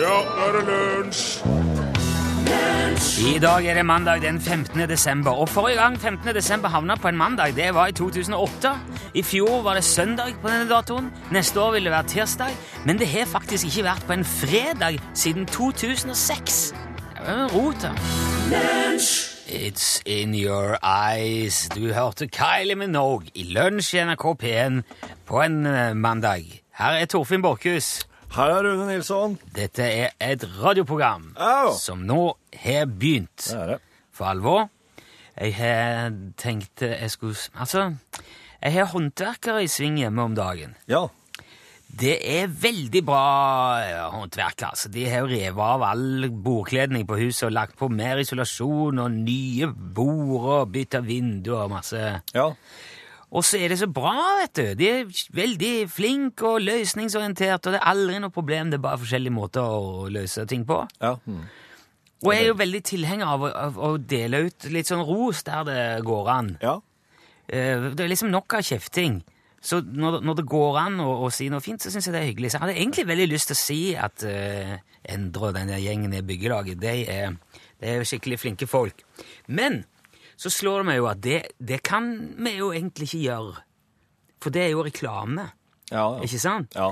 Ja, nå er det lunsj! I dag er det mandag den 15. desember, og forrige gang 15. desember havna på en mandag, det var i 2008. I fjor var det søndag på denne datoen, neste år vil det være tirsdag, men det har faktisk ikke vært på en fredag siden 2006. Det er rota. It's in your eyes. Du hørte Kylie Minogue i lunsj i NRK P1 på en eh, mandag. Her er Torfinn Borkhus. Her er Rune Nilsson. Dette er et radioprogram Au! som nå har begynt Det er det. for alvor. Jeg har tenkt jeg skulle Altså, jeg har håndverkere i sving hjemme om dagen. Ja. Det er veldig bra eh, håndverkere. Altså. De har jo revet av all bordkledning på huset og lagt på mer isolasjon og nye bord og bytta vinduer og masse ja. og så er det så bra, vet du. De er veldig flinke og løsningsorienterte, og det er aldri noe problem, det er bare forskjellige måter å løse ting på. ja. Og jeg er jo veldig tilhenger av å, av å dele ut litt sånn ros der det går an. ja. Eh, Det er liksom nok av kjefting. Så når, når det går an å, å si noe fint, så syns jeg det er hyggelig. Så jeg hadde egentlig veldig lyst til å si at eh, Endre og den der gjengen i byggelaget, de er, de er jo skikkelig flinke folk. Men så slår det meg jo at det, det kan vi jo egentlig ikke gjøre. For det er jo reklame, ja. ikke sant? Ja.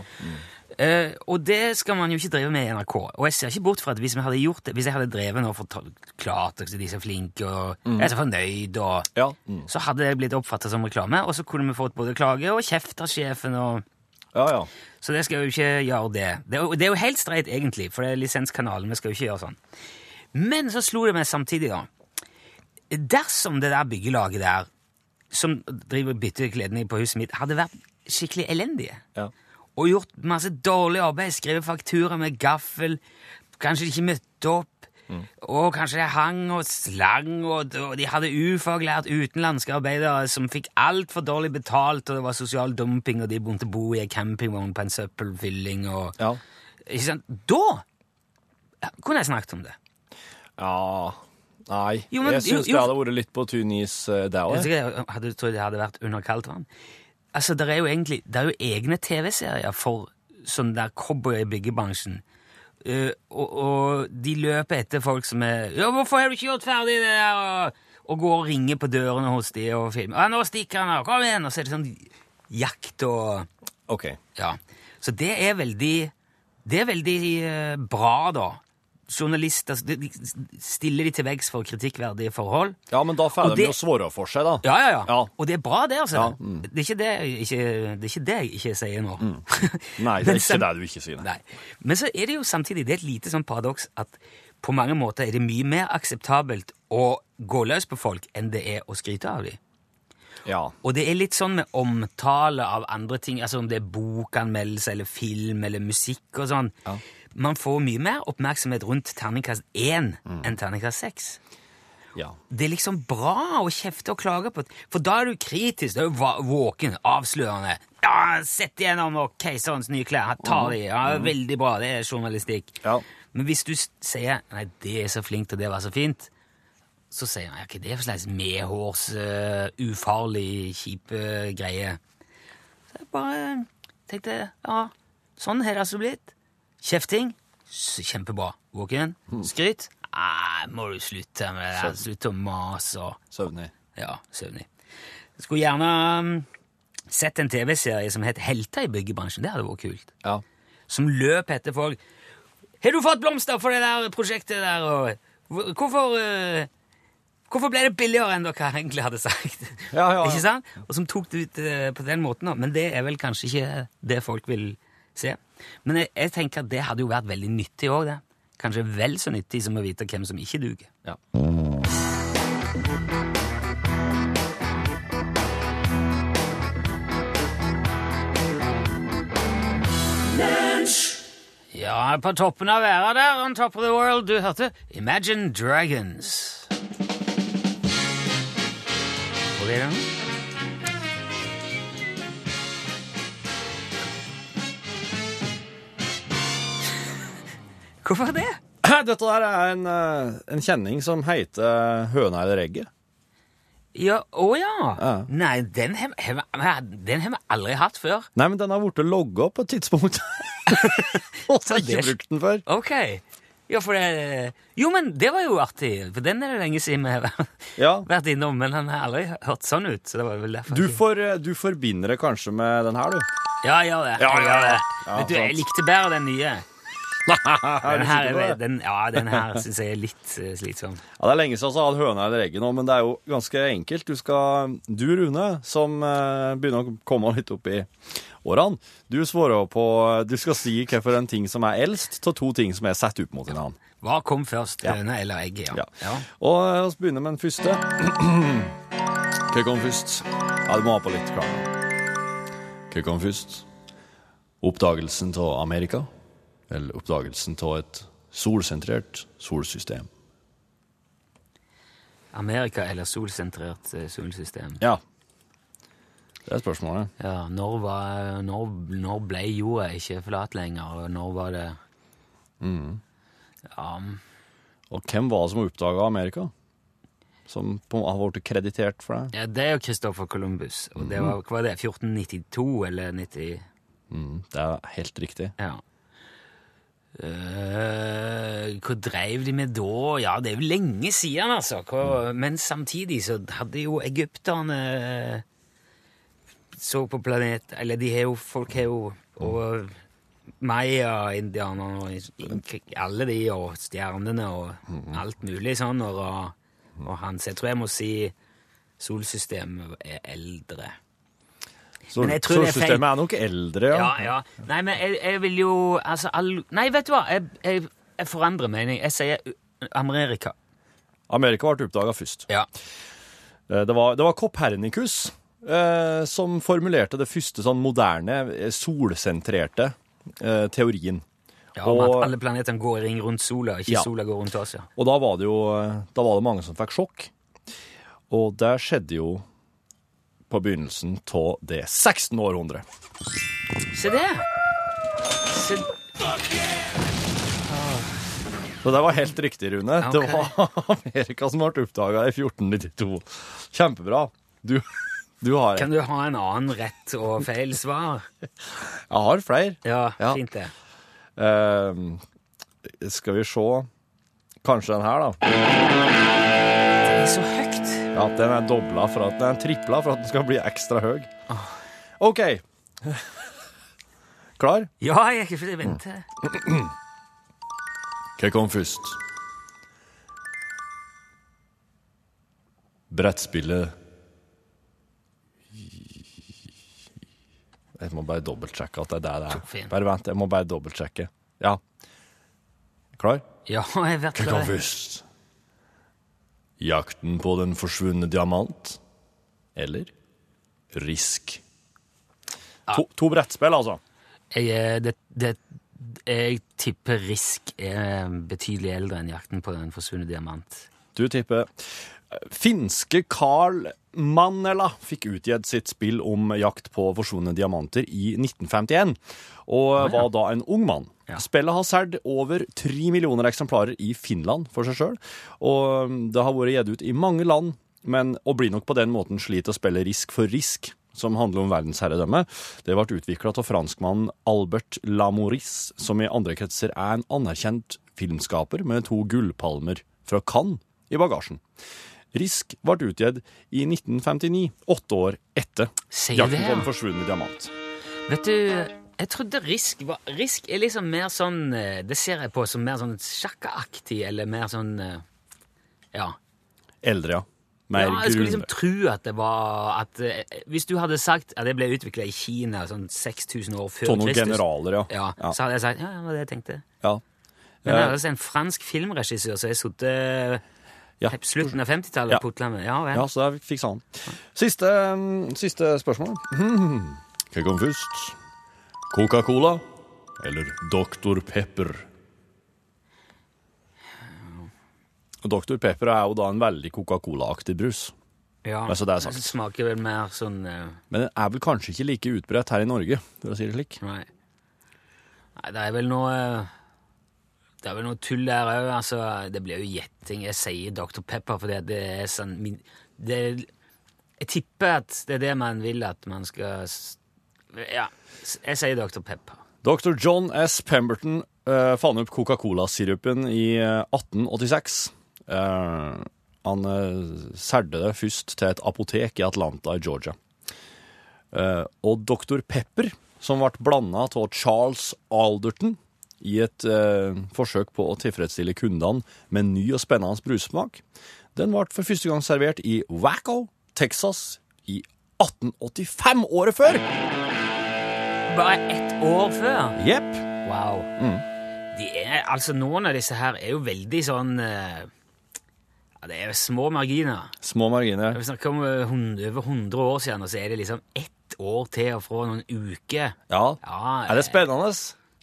Eh, og det skal man jo ikke drive med i NRK. Og jeg ser ikke bort fra at hvis, vi hadde gjort det, hvis jeg hadde drevet nå for klart at de er så flinke og jeg er så fornøyd og Ja. Mm. Så hadde det blitt oppfatta som reklame, og så kunne vi fått både klage og kjeft av sjefen. og... ja, ja. Så det skal jo ikke gjøre det. Det er jo, det er jo helt streit, egentlig, for det er lisenskanalen. Vi skal jo ikke gjøre sånn. Men så slo det meg samtidig, da. Dersom det der byggelaget der, som driver og bytter kledning på huset mitt, hadde vært skikkelig elendige Ja. og gjort masse dårlig arbeid, skrevet faktura med gaffel, kanskje de ikke møtte opp, og kanskje det hang og slang, og og de hadde ufaglært utenlandske arbeidere som fikk altfor dårlig betalt, og det var sosial dumping, og de begynte å bo i en campingvogn på en søppelfylling, og Ja. ikke sant? Da kunne jeg snakket om det. ja. Nei. Jo, men- jeg syns jo, det jo. hadde vært litt på tynn is eh, der Jeg òg. tror- hadde trodd det hadde vært under kaldt vann. Altså, det er jo egentlig det er jo egne TV-serier for sånn der cowboy i byggebransjen. Eh, og, og de løper etter folk som er ja, 'Hvorfor har du ikke gjort ferdig det der?' Og, og går og ringer på dørene hos de og filmer. Ja, 'Nå stikker han her. Kom igjen!' Og så er det sånn jakt og OK. ja. Så det er veldig Det er veldig eh, bra, da. Journalister altså, de- de stiller de til veggs for kritikkverdige forhold. Ja, men da får Og de det- jo svare for seg, da. Ja, ja, ja. Ja. Og det er bra, det, altså. Ja, Det, er ikke det, jeg ikke, det er ikke det jeg ikke sier nå. Mm. Nei, det er ikke det du ikke sier. Nei. Nei. Men så er det jo samtidig det er et lite sånn paradoks at på mange måter er det mye mer akseptabelt å gå løs på folk enn det er å skryte av dem. Ja. Og det er litt sånn med omtale av andre ting, altså om det er bokanmeldelse eller film eller musikk og sånn. Man får mye mer oppmerksomhet rundt terningkast 1 Mm. enn terningkast 6 ja. det er liksom bra å kjefte og klage på For da er du kritisk, da er du va- våken, avslørende. Ja, sett igjennom og keiserens nye klær, her, ta de, ja, veldig bra, det er journalistikk. Ja. Men hvis du s- sier, nei, det er så flinkt, og det var så fint, så sier han, ja, hva er det for slags medhårs, eh, ufarlig, kjipe greie? Så jeg bare tenkte, ja, sånn har det altså blitt. Kjefting, s- kjempebra. Våken, skryt, nei, må du slutte med det, der, slutte å mase og... Søvnig. Ja, søvnig. Skulle gjerne um, sett en TV-serie som het Helter i byggebransjen. Det hadde vært kult. Ja. Som løp etter folk. 'Har du fått blomster for det der prosjektet der?' Og hvor- 'Hvorfor eh, Hvorfor ble det billigere enn dere egentlig hadde sagt?' Ja, ja, ja. Ikke sant? Og som tok det ut eh, på den måten. da. Men det er vel kanskje ikke det folk vil se. Men jeg, jeg tenker at det hadde jo vært veldig nyttig òg, det. Kanskje vel så nyttig som å vite hvem som ikke duger. ja. Ja, på toppen av været der, on top of the world, du hørte Imagine Dragons. Hvor er den? Hvorfor det? Dette der er en, eh, en kjenning som heter eh, Høna eller egget. Ja, å ja. Ja. Nei, den har vi aldri hatt før. Nei, men den har blitt logga på et tidspunkt. Og så har jeg det- ikke brukt den før. Ok. Ja, for det Jo, men det var jo artig, for den er det lenge siden vi har Ja. vært innom. Men han har aldri hørt sånn ut, så det var vel derfor. Du, jeg- får, eh, du forbinder det kanskje med den her, du. Ja, jeg gjør det. Ja, ja, jeg gjør det. ja. men du, Ja, jeg sant. likte bedre den nye. Er Den du her, sikker på er- det? den, ja, den her syns jeg er litt eh, slitsom. Ja, Det er lenge siden jeg har hatt høna eller egget nå, men det er jo ganske enkelt. Du skal Du, Rune, som eh, begynner å komme litt opp i årene, du svarer på eh, Du skal si hvorfor en ting som er eldst, av to ting som er satt opp mot hverandre. Hva kom først, Ja. høna eller egget? Ja. Ja. Ja. Og eh, vi begynner med den første. Hva kom først? Ja, du må ha på litt kamera. Hva kom først? Oppdagelsen av Amerika? Eller oppdagelsen av et solsentrert solsystem? Amerika eller solsentrert eh, solsystem? Ja. Det er spørsmålet. Ja, når, var, når, når ble jorda ikke flat lenger, og når var det Mm. Ja, Og hvem var det som oppdaga Amerika? Som på, har blitt kreditert for det? ja, det er jo Christopher Columbus. Og det var, hva var det? 1492 eller 90 Mm, det er helt riktig. Ja. Eh, hva dreiv de med da? Ja, det er jo lenge siden, altså. Hva, Men samtidig så hadde jo egypterne eh, Så på planet Eller de har jo Folk har jo Og maya-indianerne og ink- alle de, og stjernene og alt mulig sånn. Og, og hans Jeg tror jeg må si solsystemet er eldre. Sol, Men jeg tror det er feil. solsystemet er nok eldre, ja. Ja, ja. Nei, men jeg, jeg vil jo altså, all... Nei, vet du hva? Jeg, jeg, jeg forandrer mening. Jeg sier U- Amerika. Amerika ble oppdaga først. Ja. Eh, Det var, det var Kopernikus eh, som formulerte det første sånn moderne, eh, solsentrerte eh, teorien. om Og- at alle planetene går i ring rundt sola, ikke Ja. sola går rundt oss. Ja. Og da var det jo eh, da var det mange som fikk sjokk. Og det skjedde jo på begynnelsen av det 16. århundret. Se det! Se... Så det var helt riktig, Rune. Det Ok. var Amerika som ble oppdaga i 1492. Kjempebra. Du, du har Kan du ha en annen rett og feil svar? Jeg har flere. Ja, Ja. fint det. Ehm, skal vi se Kanskje den her, da. Det er så høyt. Ja, den er dobla for at Den er tripla for at den skal bli ekstra høy. OK. Klar? Ja, jeg er ikke vente. Hva kom først? Brettspillet Jeg må bare dobbeltsjekke at det er det det Fint. er. Bare vent, jeg må bare dobbeltsjekke. Ja. Klar? Ja, jeg vet Hva hva kom det er. først? Jakten på den forsvunne diamant? Eller Risk? To, to brettspill, altså. Jeg, eh, det, det, jeg tipper Risk er betydelig eldre enn Jakten på den forsvunne diamant. Du tipper Finske Carl Manela fikk utgitt sitt spill om jakt på forsvunne diamanter i 1951, og var da en ung mann. Ja. Spillet har solgt over tre millioner eksemplarer i Finland for seg sjøl, og det har vært gitt ut i mange land, men å bli nok på den måten slit å spille risk for risk, som handler om verdensherredømme, det ble utvikla av franskmannen Albert Lamouris, som i andre kretser er en anerkjent filmskaper med to gullpalmer fra Cannes i bagasjen. Risk ble utgitt i 1959, åtte år etter Sier det, Jakten på ja. den forsvunne diamant. Vet du, jeg trodde risk var Risk er liksom mer sånn eh, Det ser jeg på som mer sånn sjakkaaktig, eller mer sånn eh, Ja. Eldre, ja. Mer ja jeg skulle liksom grunn- tro at det var at eh, Hvis du hadde sagt at det ble utvikla i Kina sånn 6000 år før Sånne Kristus generaler, ja. ja, Sånn Ja. Så hadde jeg sagt ja, det var det jeg tenkte. Ja. Men det Eh, er altså en fransk filmregissør som har sittet Ja. på slutten av 50-tallet Ja. og putla med Ja vel. ja, så der fiksa han. Siste, mm, siste spørsmål. Mhm. Hva kom først? Coca-Cola eller Dr. Pepper? Dr. Pepper er jo da en veldig Coca-Cola-aktig brus. Ja. Altså, det er sant. smaker vel mer sånn eh, Men den er vel kanskje ikke like utbredt her i Norge, for å si det slik. Nei. Nei, det er vel noe eh, Det er vel noe tull der òg. Altså, det blir jo gjetting. Jeg sier Dr. Pepper fordi at det er sånn min, det, Jeg tipper at det er det man vil at man skal s- Ja, s- jeg sier Dr. Pepper. Dr. John S. Pemberton eh, fant opp Coca-Cola-sirupen i eh, 1886. Eh, han eh, særde det først til et apotek i Atlanta i Georgia. Eh, og Dr. Pepper, som ble blanda av Charles Alderton i et eh, forsøk på å tilfredsstille kundene med en ny og spennende brussmak, den ble for første gang servert i Wacko, Texas, i 1885, året før! Bare ett år før. Jepp. Wow. De er, altså Noen av disse her er jo veldig sånn eh, ja, Det er jo små marginer. Små marginer. Vi snakker om eh, hun- over 100 år siden, og så er det liksom ett år til og fra noen uker. Ja. Ja, eh, Er det spennende?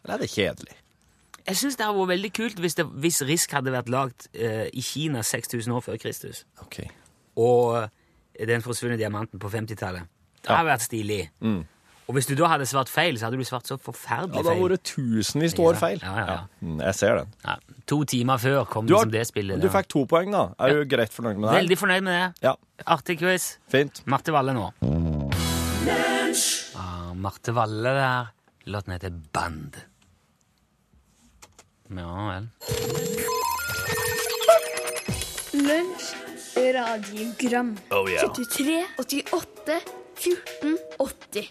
Eller er det kjedelig? Jeg syns det hadde vært veldig kult hvis, det, hvis Risk hadde vært lagd eh, i Kina 6000 år før Kristus, Ok. og eh, Den forsvunne diamanten på 50-tallet. Det hadde vært stilig. Og hvis du da hadde svart feil, så hadde du svart så Mm. forferdelig Ja, det har feil. vært tusenvis av år Ja, feil. ja, ja. Mm, Jeg ser den. Ja, to timer før kom Du, har, liksom det spillet. du der. fikk to poeng, da. Er du greit fornøyd med det? her? Veldig fornøyd med det. Ja, Artig quiz. fint. Marte Valle nå. Ah, Marte Valle der. Låten heter Band. Ja vel. Lunsj, radiogram. Oh, yeah. 73, 88, 14, 80.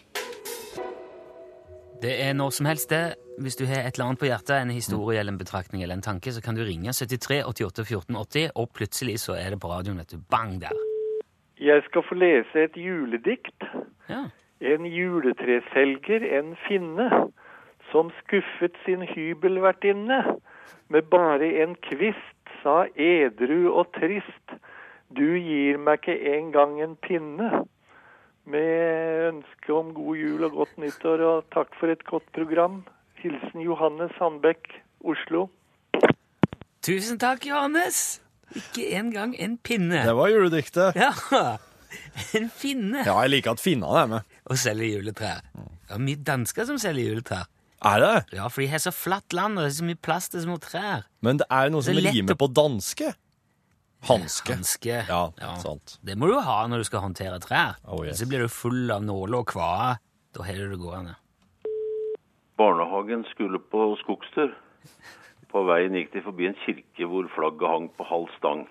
Det er når som helst det. Hvis du har et eller annet på hjertet, en historie eller en betraktning eller en tanke, så kan du ringe 73 88 14 80, og plutselig så er det på radioen, vet du. Bang der. Jeg skal få lese et juledikt. Ja. En juletreselger, en finne, som skuffet sin hybelvertinne med bare en kvist, sa edru og trist, du gir meg ikke engang en pinne. Med ønske om god jul og godt nyttår, og takk for et godt program. Hilsen Johanne Sandbekk, Oslo. Tusen takk, Johannes! Ikke engang en pinne. Det var julediktet. Ja, en finne. Ja, Mm. jeg liker at finnene er med. og selger juletrær. Det er mye dansker som selger juletrær. Er det? Ja, for de har så flatt land, og det er så mye plass til små trær. Men det er jo noe som Det er lett rimer å- på danske. Hanske. Hanske. Ja, sant. Det må du jo ha når du skal håndtere trær. Oh, yes. Så blir du full av nåler og kvae. Da har du det gående. Barnehagen skulle på skogstur. På veien gikk de forbi en kirke hvor flagget hang på halv stang.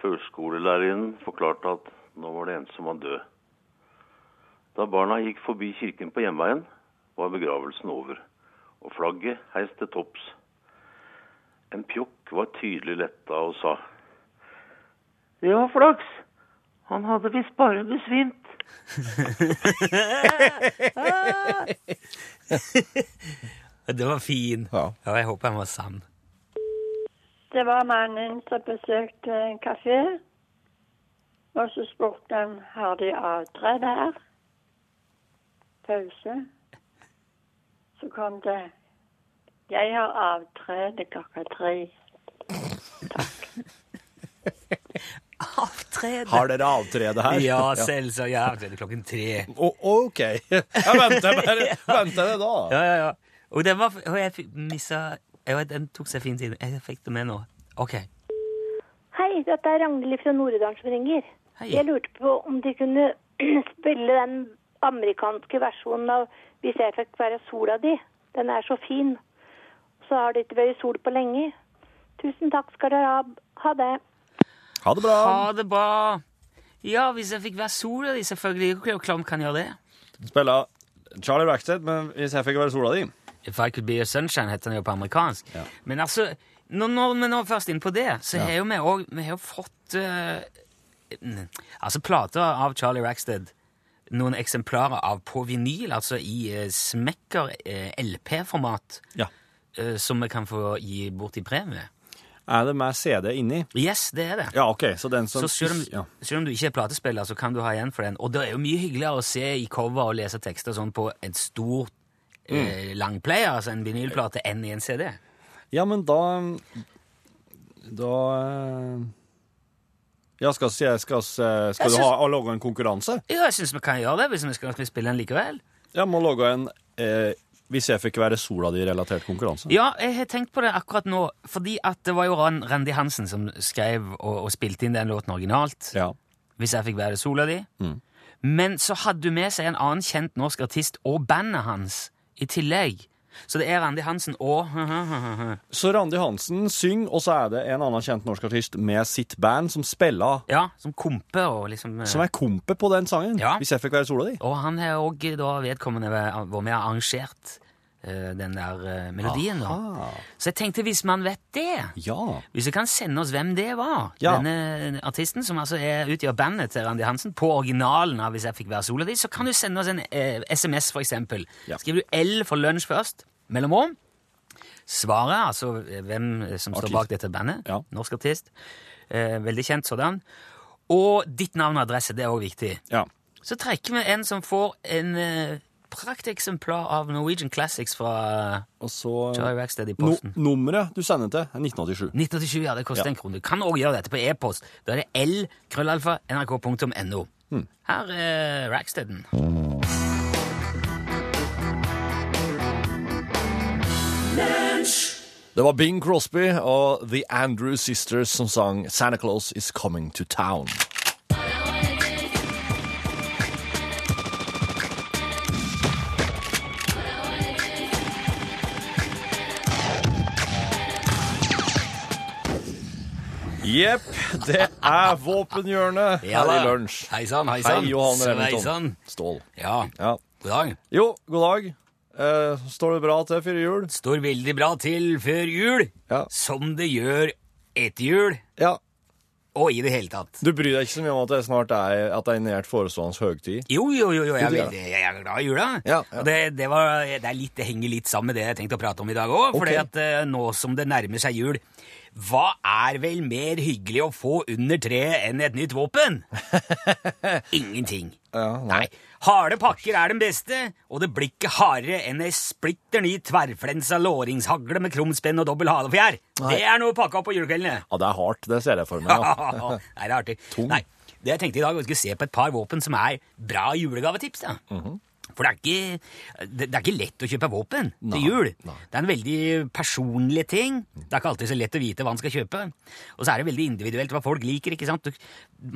Førskolelærerinnen forklarte at nå var det en som var død. Da barna gikk forbi kirken på hjemveien, var begravelsen over, og flagget heist til topps. En pjokk var tydelig letta og sa Det var flaks! Han hadde visst bare besvimt. Det var fin. Ja. Ja, jeg håper han var sann. Det var mannen som besøkte en kafé, og så spurte han har de avtre der. Pause. Så kom det jeg har avtre til klokka tre. Avtrede! Har dere avtrede her? Ja, selvsagt. Ja, det er klokken tre. Å, ok. Jeg venter bare. Venter det da. Ja, ja, ja. Og den var Og jeg fikk- missa jeg vet, Den tok seg fint inn. Jeg fikk det med nå. OK. Hei, dette er Ragnhild fra Nord-Udalen som ringer. Hei. Jeg lurte på om du kunne spille den amerikanske versjonen av Hvis jeg fikk være sola di. Den er så fin. Så har det ikke vært sol på lenge. Tusen takk skal dere ha. Ha det. Ha det bra. Ha det bra! Ja, hvis jeg fikk være sola di, selvfølgelig. Hvor klam kan gjøre det? Spilla Charlie Rackstead, men hvis jeg fikk være sola di If I Could Be Your Sunshine heter den jo på amerikansk. Men altså, når, når vi nå er først inne på det, så har jo vi òg Vi har jo fått eh, mm, Altså plater av Charlie Rackstead. Noen eksemplarer av på vinyl, altså i eh, smekker eh, LP-format, Ja. eh, som vi kan få gi bort i premie. Er det med CD inni? Yes, det er det. Ja, ok. Så den som Så selv om, ja. selv om du ikke er platespiller, så kan du ha igjen for den. Og det er jo mye hyggeligere å se i cover og lese tekster sånn på en stor Mm. eh, langplayer, altså en vinylplate, enn i en CD. ja, men da Da eh, Ja, skal, si- skal, skal, skal Jeg du syns- ha, ha logga en konkurranse? Ja, jeg syns vi kan gjøre det, hvis vi skal spille den likevel. Jeg må logge en eh, Hvis jeg fikk være sola di relatert konkurranse. Ja, jeg har tenkt på det akkurat nå, fordi at det var jo Ran- Randi Hansen som skrev og, og spilte inn den låten originalt. Ja. Hvis jeg fikk være Mm. sola di. Men så hadde hun med seg en annen kjent norsk artist og bandet hans i tillegg. Så det er Randi Hansen og Så Randi Hansen synger, og så er det en annen kjent norsk artist med sitt band som spiller, Ja, som kompe og liksom eh, som er kompe på den sangen. Ja. Hvis jeg fikk være sola di. Og han har òg da vedkommende vært vært med og arrangert eh, den der eh, melodien. da. Aha. Så jeg tenkte, hvis man vet det Ja. Hvis du kan sende oss hvem det var, Ja. denne artisten som altså er, utgjør bandet til Randi Hansen, på originalen av Hvis jeg fikk være sola di, så kan du sende oss en eh, SMS, for eksempel. Ja. Skriver du L for lunsj først, mellomrom. Svaret, altså eh, hvem eh, som Artist. står bak dette bandet. Ja. Norsk artist. Eh, veldig kjent sådan. Og ditt navn og adresse, det er òg viktig. ja. Så trekker vi en som får en eh, prakteksemplar av Norwegian Classics fra eh, Og så Joy Rackstead i no, posten. Nummeret du sender til, er 1987. 1987, ja, det koster Ja. en krone. Du kan også gjøre dette på e-post. Da er det l-nrk.no. Mm. Her er Racksteaden. Det var Bing Crosby og The Andrew Sisters som sang Santa Claus Is Coming to Town. Jepp, det er våpenhjørnet Ja her i da. lunsj. Hei sann, hei Hei, sann. Johan Remington Sveisann. Stål. Ja, Ja. god dag. Jo, god dag. Eh, står det bra til før jul? Står veldig bra til før jul, Ja. som det gjør etter jul, Ja. og i det hele tatt. Du bryr deg ikke så mye om at det snart er, at det er nært forestående høgtid? Jo, jo, jo, jo jeg, er Du gjør veldig, jeg er glad i jula. Ja, ja. Og Det, det, var, det, er litt, det henger litt sammen med det jeg tenkte å prate om i dag òg. For Ok. eh, nå som det nærmer seg jul, hva er vel mer hyggelig å få under treet enn et nytt våpen? Ingenting. Ja, Nei. Harde pakker er den beste, og det blir ikke hardere enn ei splitter ny tverrflensa låringshagle med krumspenn og dobbel halefjær. Det er noe å pakke opp på julekveldene. Ja, det er hardt. Det ser jeg for meg. Ja. Nei, det er artig. Tung. Nei, det jeg tenkte i dag, var at vi skulle se på et par våpen som er bra julegavetips. da. For det er, ikke, det, det er ikke lett å kjøpe våpen til jul. Det er en veldig personlig ting. Det er ikke alltid så lett å vite hva man skal kjøpe. Og så er det veldig individuelt hva folk liker. ikke sant? Du,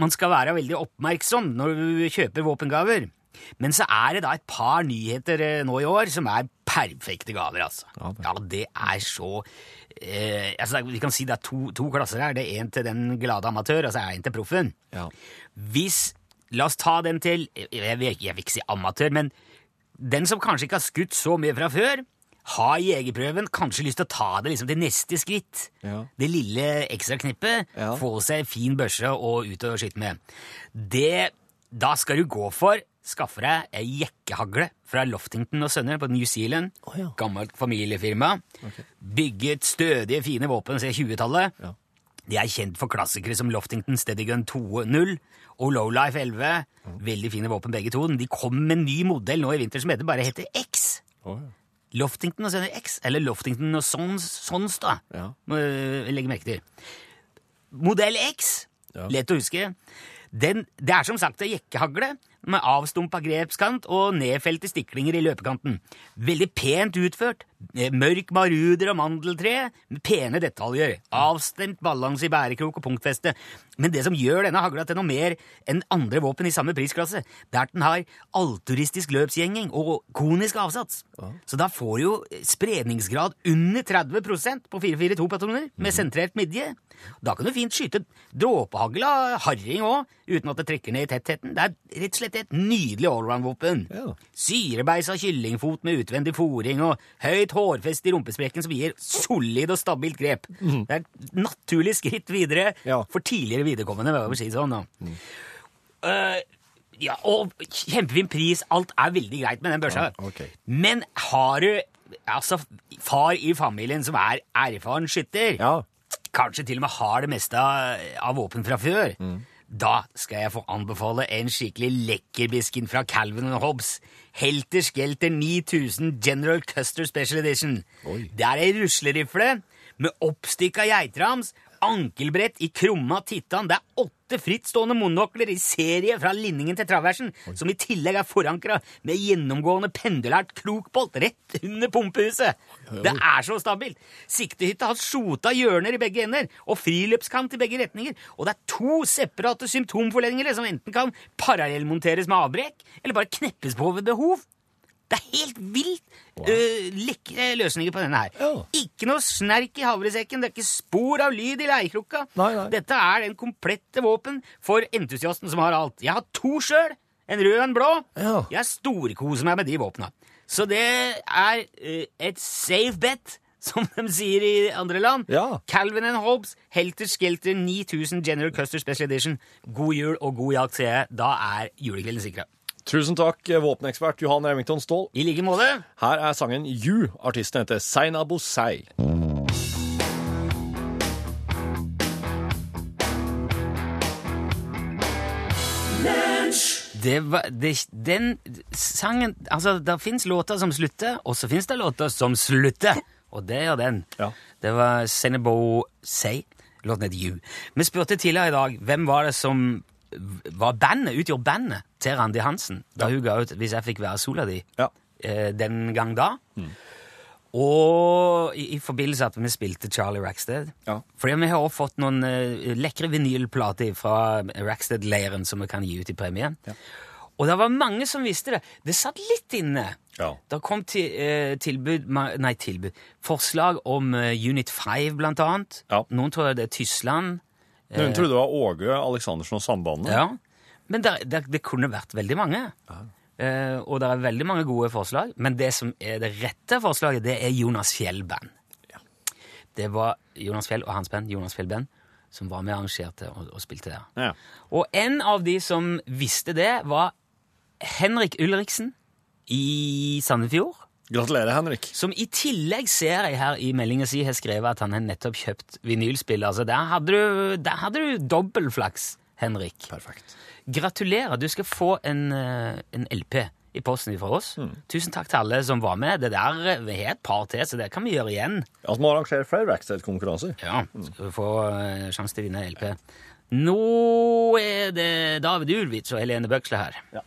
man skal være veldig oppmerksom når du kjøper våpengaver. Men så er det da et par nyheter eh, nå i år som er perfekte gaver, altså. Ja, det er så eh, altså, det er- Vi kan si det er to, to klasser her. Det er en til den glade amatør, og så er det en til proffen. Ja. Hvis La oss ta den til Jeg, jeg, vil- jeg vil ikke si amatør, men den som kanskje ikke har skutt så mye fra før, har jegerprøven, kanskje lyst til å ta det liksom til neste skritt. Ja. Det lille ekstra knippet. Ja. Få seg fin børse og ut og skyte med. Det, da skal du gå for Skaffe deg ei jekkehagle fra Loftington og Sønner på New Zealand. Gammelt familiefirma. Bygget stødige, fine våpen siden 20-tallet. De er kjent for klassikere som Loftington Steady Gun 2.0 og Lowlife 11. Veldig fine våpen, begge to. De kom med en ny modell nå i vinter som heter bare heter X. Å, ja. Loftington og Sønner X, eller Loftington og Sons, Sons da. Ja. Må øh, legge merke til. Modell X, Ja. lett å huske. Den, det er som sagt en jekkehagle med avstumpa grepskant og nedfelte stiklinger i løpekanten. Veldig pent utført. eh, Mørk maruder og mandeltre med pene detaljer. Avstemt balanse i bærekrok og punktfeste. Men det som gjør denne hagla til noe mer enn andre våpen i samme prisklasse, det er at den har alturistisk løpsgjenging og konisk avsats. Så da får du jo spredningsgrad under 30 på 442-patroner Mhm. med sentrert midje. Da kan du fint skyte dråpehagl av harring òg, uten at det trekker ned i tettheten. Det er rett og slett et nydelig allround-våpen. Ja. Syrebeis av kyllingfot med utvendig foring og høyt hårfest i rumpesprekken som gir solid og stabilt grep. Det er et naturlig skritt videre Mhm. Ja. for tidligere viderekommende, må jeg vel si det sånn. da. Eh, ja, og kjempefin pris. Alt er veldig greit med den børsa. Ja, ok. Men har du altså far i familien som er erfaren skytter, Ja. kanskje til og med har det meste av, av våpen fra før, Mm. da skal jeg få anbefale en skikkelig lekkerbisken fra Calvin Hobbes. Helter Skelter 9000 General Custer Special Edition. Oi. Det er ei ruslerifle med oppstikka geitrams, ankelbrett i krumma titan. Det er åtte frittstående monokler i serie fra linningen til traversen, som i tillegg er forankra med gjennomgående pendulært krokbolt rett under pumpehuset. Det er så stabilt! Siktehytta har skjota hjørner i begge ender og friløpskant i begge retninger, og det er to separate symptomforlendinger som enten kan parallellmonteres med avbrekk eller bare kneppes på ved behov. Det er helt vilt øh, lekre løsninger på denne her. Ja. Ikke noe snerk i havresekken, det er ikke spor av lyd i leirkrukka. Nei, nei. Dette er den komplette våpen for entusiasten som har alt. Jeg har to sjøl, en rød og en blå. Ja. Jeg storkoser meg med de våpna. Så det er øh, et safe bet, som de sier i andre land. Ja. Calvin and Hobbes, Helter Skelter 9000 General Custer Special Edition. God jul og god jakt, sier jeg. Da er julekvelden sikra. Tusen takk, eh, våpenekspert Johan Remington Ståhl. I like måte. Her er sangen You. Artisten heter Seina Bosei. Det var, det, den sangen Altså, det fins låter som slutter, og så fins det låter som slutter. Og det gjør den. Ja. Det var Senebo Say. Låten het You. Vi spurte tidligere i dag hvem var det som var bandet, utgjorde bandet til Randi Hansen da hun ga ut 'Hvis jeg fikk være sola di' Ja. eh, den gang da. Og i, i forbindelse at vi spilte Charlie Rackstead. Ja. Fordi vi har også fått noen eh, lekre vinylplater fra Rackstead-leiren som vi kan gi ut i premien. Og det var mange som visste det. Det satt litt inne. Ja. Det kom til, eh, tilbud, ma- nei, tilbud forslag om eh, Unit 5, blant annet. Ja. Noen tror det er Tyskland. Hun trodde det var Åge Aleksandersen og Sambandet. Eh. Ja. Men der, der, det kunne vært veldig mange. Eh, og det er veldig mange gode forslag. Men det som er det rette forslaget, det er Jonas Fjell-band. Det var Jonas Fjell og hans band, Jonas Fjell-band, som var med og arrangerte og, og spilte der. Ja. Og en av de som visste det, var Henrik Ulriksen i Sandefjord. Gratulerer, Henrik. Som i tillegg ser jeg her i meldingen si har skrevet at han har nettopp kjøpt vinylspiller. Så der hadde du, der hadde du dobbel flaks, Henrik. Perfekt. Gratulerer, du skal få en, eh, en LP i posten fra oss. Tusen takk til alle som var med. Det der, eh, Vi har et par til, så det kan vi gjøre igjen. At man arrangerer flere Rackstead-konkurranser. Ja, Skal du få eh, sjanse til å vinne LP. Nå er det David Ulwitz og Helene Bøksle her.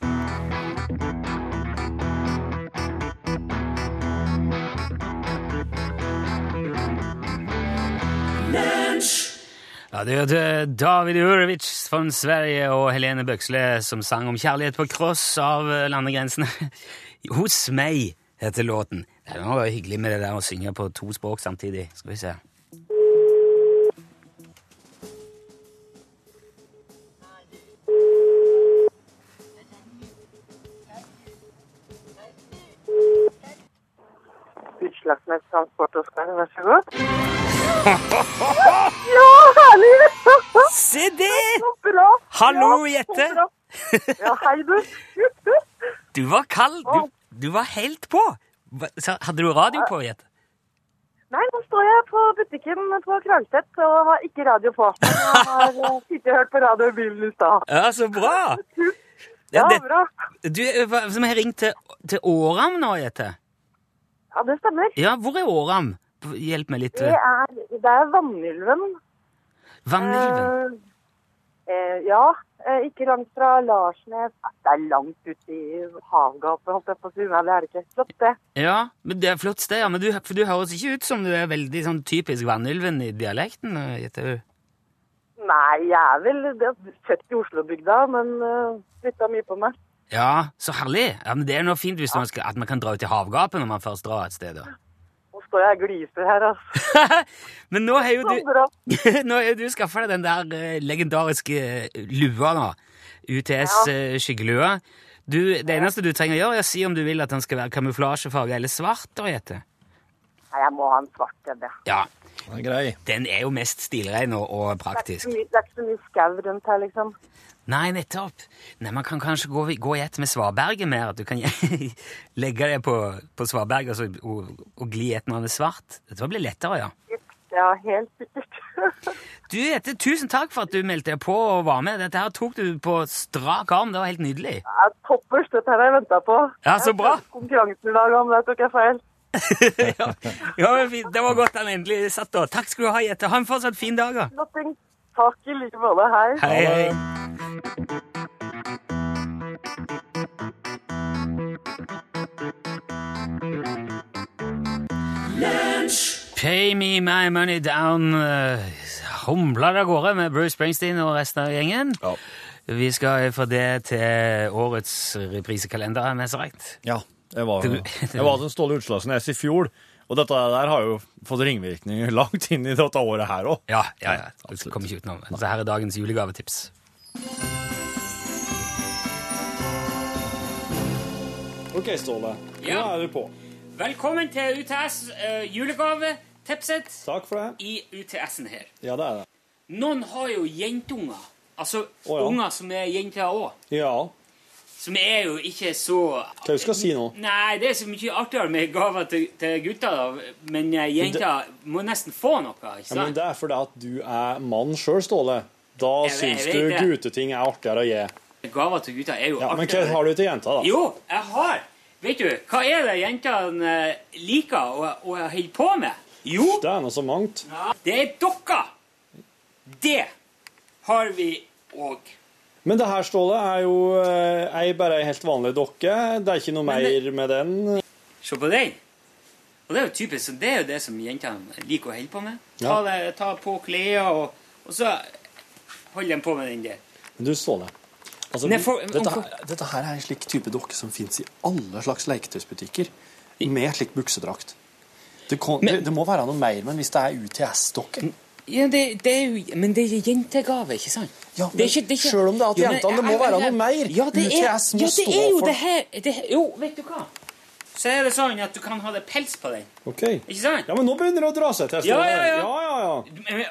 Ja, du hørte David Urovic fra Sverige og Helene Bøksle som sang om kjærlighet på kross av eh, landegrensene. Hos meg heter låten. Det er noe hyggelig med det der å synge på to språk samtidig. Skal vi se. Utslagsnes Transport og Skarv, vær så god. Ja, herlig! Se det! Så bra! Hallo, Ja, så Jette. bra. Ja, hei, du. Du var kald. Du, du var helt på. Hva- sa- Hadde du radio på, Jette? Nei, nå står jeg på butikken på Kragstedt og har ikke radio på. Men jeg har eh, sittet og hørt på radio i bilen i stad. Ja, så bra! Ja, Ja, det- bra. Du eh, hva- som har ringt til, til Åram nå, Jette. Ja, det stemmer. Ja, hvor er Åram? Hjelp meg litt. eh, Det er, det er Vannylven. Vanilven. Eh, eh, ja, eh, ikke langt fra Larsnes. Ja, Det er langt ute i havgapet, holdt jeg på å si. Nei, det er det ikke. Flott, det. Ja, men det er flott sted, ja. Men du, for du høres ikke ut som du er veldig sånn typisk Vanylven i dialekten, eh, gjetter du? Nei, jeg er vel det er født i Oslo-bygda, men uh, flytta mye på meg. Ja, så herlig. Ja, men det er noe fint hvis man skal, at man kan dra ut i havgapet når man først drar et sted, da. Nå står jeg og gliser her, altså. men nå har jo Så du, bra. nå har jo du skaffa deg den der eh, legendariske eh, lua, da. UTS eh, skyggelua. Du, det eneste du trenger å gjøre, er å si om du vil at den skal være kamuflasjefarge eller svart, da, Jette. Nei, jeg må ha en svart en, ja. Ja, Den er grei. den er jo mest stilrein og, og Det er praktisk. ikke så mye- det er ikke så mye skau rundt her, liksom. Nei, nettopp. Nei, Man kan kanskje gå, gå i ett med svaberget mer. At du kan legge det på, på svaberget og, så- og, og gli i ett når det er svart. Dette blir lettere, ja. Ja, helt sikkert. Du, Jette, tusen takk for at du meldte deg på og var med. Dette her tok du på strak arm. Det var helt nydelig. Ja, Toppers, dette her har jeg venta på. Ja, så bra. Jeg har Konkurransen i dag, om der tok jeg feil. ja, ja, men fint. Det var godt han endelig satt da. Takk skal du ha, Jette. Ha en fortsatt fin dag. da. Nothing. Takk i like måte. Hei. Hei, hei. Pay me my money down eh, humler av gårde med Bruce Springsteen og resten av gjengen. Ja. Vi skal fra det til årets reprisekalender, mest rett. ja. Jeg var, jeg var den Ståle Utslagsnes i fjor, og dette der har jo fått ringvirkninger langt inn i dette året her òg. Ja, ja, ja. Du kommer ikke utenom. Så her er dagens julegavetips. OK, Ståle. Ja. er du på. Velkommen til UTS eh, julegavetipset Takk for det. i UTS-en her. Ja, det er det. Noen har jo jentunger. Altså Å, ja. unger som er jenter òg. Ja. Som er jo ikke så Hva du skal si nå? Nei, det er så mye artigere med gaver til, til gutter, da. Men eh, jenter må nesten få noe, ikke Ja, men sant? det er fordi at du er mann sjøl, Ståle. Da Jeg- jeg syns vet du det. gutteting er artigere å gi. Gaver til gutter er jo Ja, men hva artigere. har du til jenta, da? Jo, jeg har! Vet du, hva er det jentene eh, liker og, og holder på med? Jo, Det er nå så mangt. det er dokker! Det har vi òg. Men det her, Ståle, er jo eh, ei bare ei helt vanlig dokke. Det er ikke noe Men det- mer med den. Se på den! Og det er jo typisk, så det er jo det som jentene liker å holde på med. Ta, Ja. det, ta på klær, og, og så holder de på med den der. Men du, Ståle. Altså, Nei, for- dette, her, dette her er en slik type dokke som fins i alle slags leketøysbutikker med slik buksedrakt. Det, kon- Men- det, det må være noe mer, men hvis det er UTS-dokke Ja, det, det er jo, men det er jentegave, ikke sant? Ja, Det er men ikke- det er ikke- selv om det er til Ja, men- jentene, det må ja, være ja, noe mer. Ja, det er, UTS må ja, det stå er jo for- det her det, her- Jo, vet du hva? Så er det sånn at du kan ha det pels på den. Ok. Ikke sant? Ja, men nå begynner det å dra seg til. Ja, Ståle. ja, ja. ja, ja, Men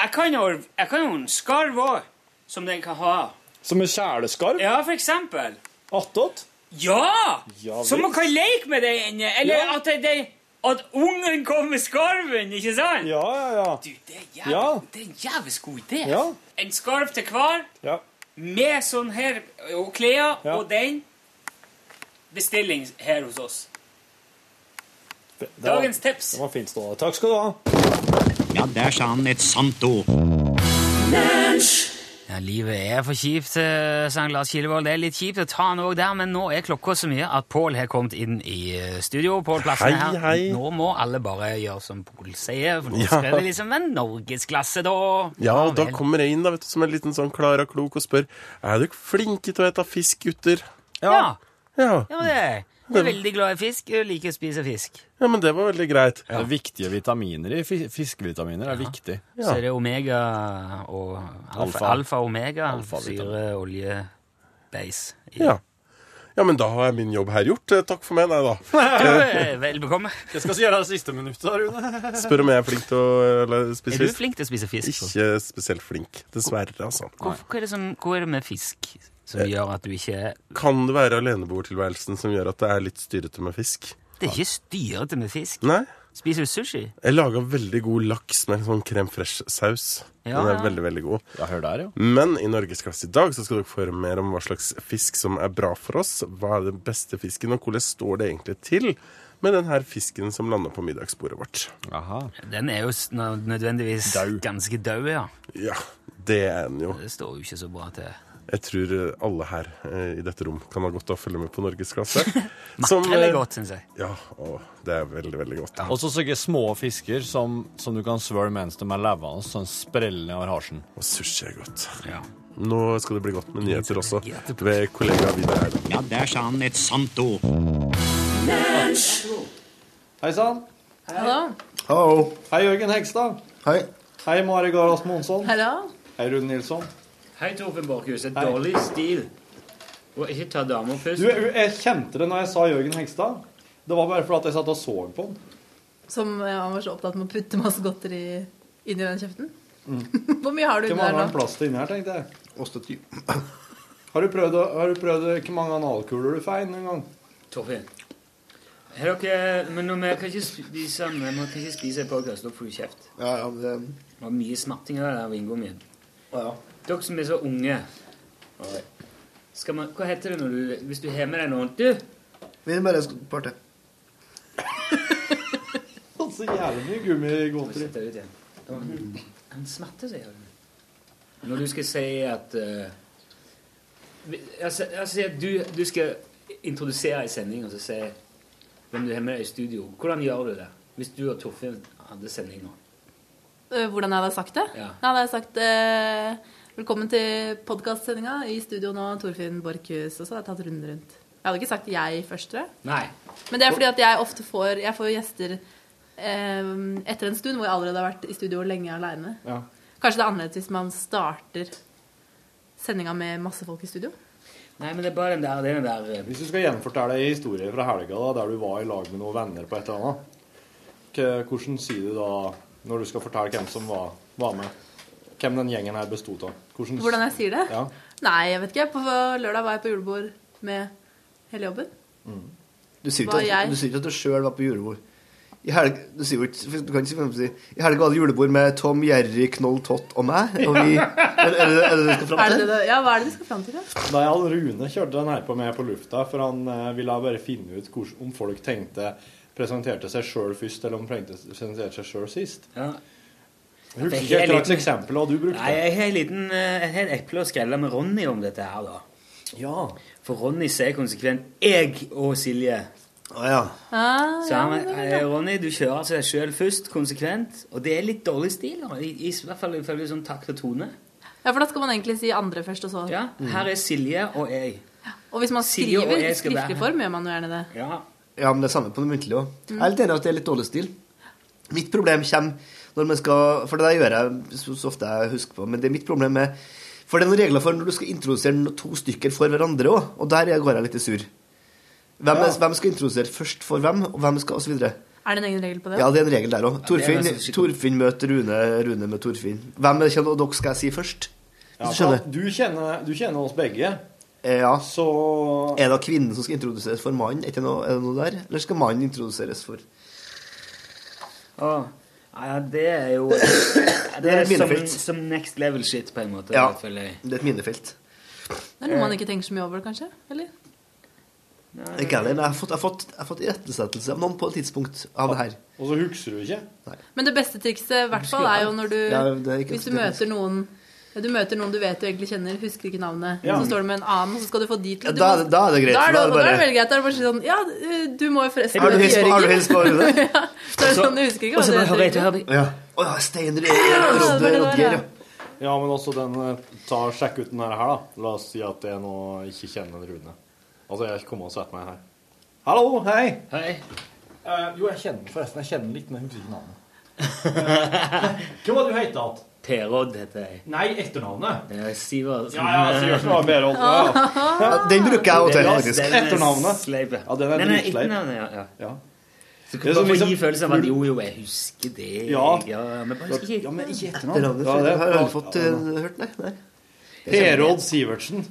Jeg kan jo, jeg kan jo en skarv òg, som den kan ha. ja. Som en kjæleskarv? Ja, for eksempel. Attåt? Ja! Ja, så man visst. kan leke med den. Eller Ja. at, det- det, at ungen kommer med skarven, ikke sant? Ja, ja, Du, ja. det er, jævlig, Ja. det er en jævlig god idé. Ja. En skarv til hver. ja. med sånn her og klær Ja. og den bestilling her hos oss. Det- det var- Dagens tips. Det var fint, Ståle. Takk skal du ha. Ja, der sa han et sant ord. Ja, Livet er for kjipt, eh, sang Lars Kilevold. Det er litt kjipt å ta han òg der, men nå er klokka så mye at Pål har kommet inn i eh, studio. Pål Plassen er her. Hei, hei. Nå må alle bare gjøre som Pål sier, for nå skal det liksom være norgesklasse, da. Ja, og da vel. kommer jeg inn da, vet du, som en liten sånn Klara Klok og spør Er dere flinke til å ete fisk, gutter? Ja, Ja. ja det er jeg. Jeg er veldig glad i fisk. Jeg liker å spise fisk. ja, men det var veldig greit. Det er viktige vitaminer i fi- fiskevitaminer. er viktig. Så er det omega og alfa, Alfa. alfa omega, Alfa-vitamin. syre, olje, beis. i Ja. ja, men da har jeg min jobb her gjort. Eh, Takk for meg, nei da. Ja, Vel bekomme. Jeg skal gjøre det siste minuttet, Rune. Spør om jeg er flink til å eller, Er spise du fisk. flink til å spise fisk? Pål? Ikke spesielt flink, dessverre, altså. Hvorfor, hva, er det som, hva er det med fisk som gjør at du ikke er Kan det være aleneboertilværelsen som gjør at det er litt styrete med fisk? Det er ikke styrete med fisk. Nei. Spiser du sushi? Jeg laga veldig god laks med sånn crème fraîche-saus. Ja, Den ja. er veldig, veldig god. Ja, hør der, ja. Men i Norgesklasse i dag så skal dere få høre mer om hva slags fisk som er bra for oss. Hva er den beste fisken, og hvordan står det egentlig til med den her fisken som lander på middagsbordet vårt? Aha. Den er jo s- nå- nødvendigvis Dau. ganske død, ja. Ja, det er den jo. Det står jo ikke så bra til. Jeg tror eh, alle her eh, i dette rom kan ha godt av å følge med på Norgesklasse. Makrell eh, er godt, syns jeg. Ja, å, det er veldig, veldig godt. Og så sånne små fisker som, som du kan svøle mens de er levende, sånn sprellende over harsen. Og sushi er godt. Ja. Nå skal det bli godt med nyheter også ved kollega Vidar Eide. Ja, der sa han et sant ord. Hei sann. Hallo. Hei, Jørgen Hegstad. Hei. Hei, Mari Garas Monsson. Hallo? Hei, Rune Nilsson. Hei, Torfinn Borchhus. Hei. dårlig stil. Og ikke ta damer først. Du, jeg kjente det når jeg sa Jørgen Hegstad. Det var bare fordi at jeg satt og så på han. Som eh, han var så opptatt med å putte masse godteri inn i den kjeften. Hvor mye har du Hvor inni mange har der han nå? plass til inni her, tenkte jeg. Ostetid. Har du prøvd, å- har du prøvd hvor mange analkuler du får inn en gang? Torfinn. Har dere, men når vi kan ikke spise, vi kan ikke spise podkast, da får du kjeft. Ja, ja, men det... Det var mye smerting av det der vingoen min. Ja, ja. Dere som er så unge skal man, Hva heter det når du, hvis du har med deg noen Du, eh, Vi bare skal på party. Så jævlig mye gummigodteri. sett deg ut igjen. Det var en, en smerte, sier du. Når du skal si at eh, vi- Jeg sier- jeg sier at du, du skal introdusere i sending, og så sier jeg hvem du har med deg i studio. Hvordan gjør du det? Hvis du og Torfinn hadde sending nå. Eh, Hvordan jeg hadde sagt det? Ja. Jeg hadde sagt øh, eh, velkommen til podkastsendinga. I studio nå, Torfinn Borchhus. Og så hadde jeg tatt runden rundt. hadde ikke sagt jeg først, tror jeg. Nei. Men det er fordi at jeg ofte får Jeg får jo gjester eh, etter en stund hvor jeg allerede har vært i studio lenge aleine. Ja. Kanskje det er annerledes hvis man starter sendinga med masse folk i studio. Nei, men det er bare den der, det er den der eh, Hvis du skal gjenfortelle ei historie fra helga da, der du var i lag med noen venner på et eller annet, k- hvordan sier du da, når du skal fortelle hvem som var, var med, hvem den gjengen her bestod av? Hvordan, Hvordan jeg sier det? Ja. Nei, jeg vet ikke. På lørdag var jeg på julebord med hele jobben. Mm. Du sier Var ikke jeg- at, du sier ikke at du sjøl var på julebord. I helg, du, sier jo ikke, du kan ikke si, for eksempel si I helga var det julebord med Tom, Jerry, Knoll, Tott og meg. Og vi, er, er, det- er det det du skal fram Er det til? det, det- ja, hva er det du skal fram til? da? Nei, han Rune kjørte den her på meg på lufta, for han eh, ville bare finne ut hvordan, om folk tenkte presenterte seg sjøl først, eller om de tenkte- presenterte seg sjøl sist. Ja. Jeg husker Jeg ikke er et slags liten- eksempel hva du brukte. Nei, jeg har en liten, eh, jeg har et eple å skrelle med Ronny om dette her, da. Ja. For Ronny sier konsekvent 'jeg og Silje'. Å ja. Ah, Så ja, han, men det er eh, bra. Ronny, du kjører altså deg sjøl først, konsekvent. Og det er litt dårlig stil, da. I, i hvert fall ifølge sånn takt og tone. ja, for da skal man egentlig si andre først, og så Ja, Her Mm. er Silje og jeg. Og hvis man Silje og skriver i jeg skal være skriftlig her. form, gjør man jo gjerne det. Ja. Ja, men det er samme på det muntlige òg. Mm. Jeg er litt enig i at det er litt dårlig stil. Mitt problem kommer når man skal For det der gjør jeg så, så ofte jeg husker på, men det er mitt problem med For det er noen regler for når du skal introdusere no- to stykker for hverandre òg, og der er- går jeg litt i sur. Hvem, er, hvem skal introdusere først for hvem, og hvem skal og så videre. Er det en egen regel på det? Ja, det er en regel der òg. det er Torfinn, nesten skikkelig. Torfinn møter Rune, Rune med Torfinn. Hvem er det kjenner, og dere skal jeg si først? Ja, Hvis du skjønner? Eh, for du, kjenner, du kjenner oss begge. Ja. Så Er det da kvinnen som skal introduseres for mannen? Er det noe, er det noe der? Eller skal mannen introduseres for Å, Ja, det er jo Det er et minefelt. som, som next level shit, på en måte. Ja. føler jeg. Det er et minefelt. Det er noe man Eh. ikke tenker så mye over, kanskje? Eller? Ikke heller, men jeg har fått, jeg har fått, jeg har fått irettesettelse av noen på et tidspunkt av det her. Og så husker du ikke? Men det beste trikset i hvert fall er jo når du Ja, det er ikke Hvis du ofte det. møter noen ja, du møter noen du vet du egentlig kjenner, husker ikke navnet. Ja. Så står du med en annen, og så skal du få de til. Ja, Du da er må- det- da er det greit, Da er for da er det det, da er bare- det veldig greit. Da er det bare sånn Ja, du- du må jo forresten Har du møte hilst på- har du Jørgen. hilst på Rune? ja. Så er det sånn, jeg husker ikke Og så hva bare det hører jeg til, heter. hører jeg. Ja. Å ja, Stein Rodger, Rodger, ja. Ja, men også den eh, ta, Sjekk ut den her, da. La oss si at jeg nå ikke kjenner Rune. Altså, jeg kommer og setter meg her. Hallo, hei! Hei. Eh, jo, jeg kjenner den forresten. Jeg kjenner den litt, men jeg husker ikke navnet. Hva var det du het igjen? Per-Odd heter jeg. Nei, etternavnet. Det er Sivert. Ja, ja, Sivertsen var bedre holdt, ja, ja. Den bruker jeg også til, Den er- faktisk. den er Etternavnet. Sleip, ja. den er Den er dritsleip. etternavnet, ja, ja. Så Det er kan man som liksom, gi liksom- følelsen av at jo, jo, jeg husker det. Ja. ja men bare husker ikke Ja, men ikke Det er etternavn. det, Ja, det jeg er har bra. aldri fått eh, hørt, nei. nei. Herold Sivertsen.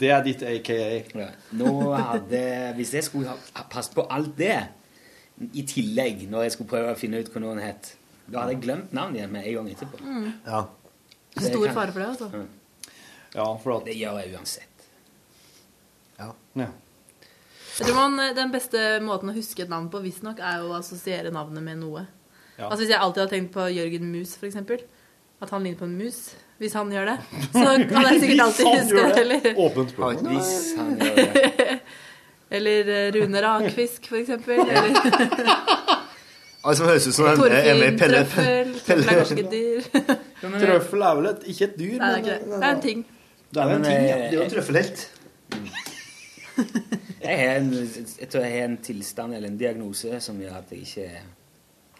Det er ditt aka. Ja. Nå hadde, Hvis jeg skulle ha passet på alt det i tillegg, når jeg skulle prøve å finne ut hva noen het, da hadde jeg glemt navnet igjen med en gang etterpå. Mm. Ja. Så jeg Stor kan- fare for det, altså. Mm. Det gjør jeg uansett. Jeg tror man, Den beste måten å huske et navn på, visstnok, er jo å assosiere navnet med noe. Ja. Altså Hvis jeg alltid har tenkt på Jørgen Mus, for eksempel At han ligner på en mus, hvis han gjør det, så kan jeg sikkert alltid huske det. Eller, Åpent spørsmål. Hvis han gjør det. eller eh, Rune Rakfisk, for eksempel. Eller Altså, det høres ut som han er er med Torfinn i Pelle. Trøffel. Trøffel er Pelle. kanskje ikke et dyr. Trøffel er vel et, ikke et dyr, eh, Nei, det er ikke det. Det er en ting. Det er jo en Men, ting, ja. eh, Det er jo en trøffelhelt. Jeg, har en, jeg tror jeg har en tilstand eller en diagnose som gjør at jeg ikke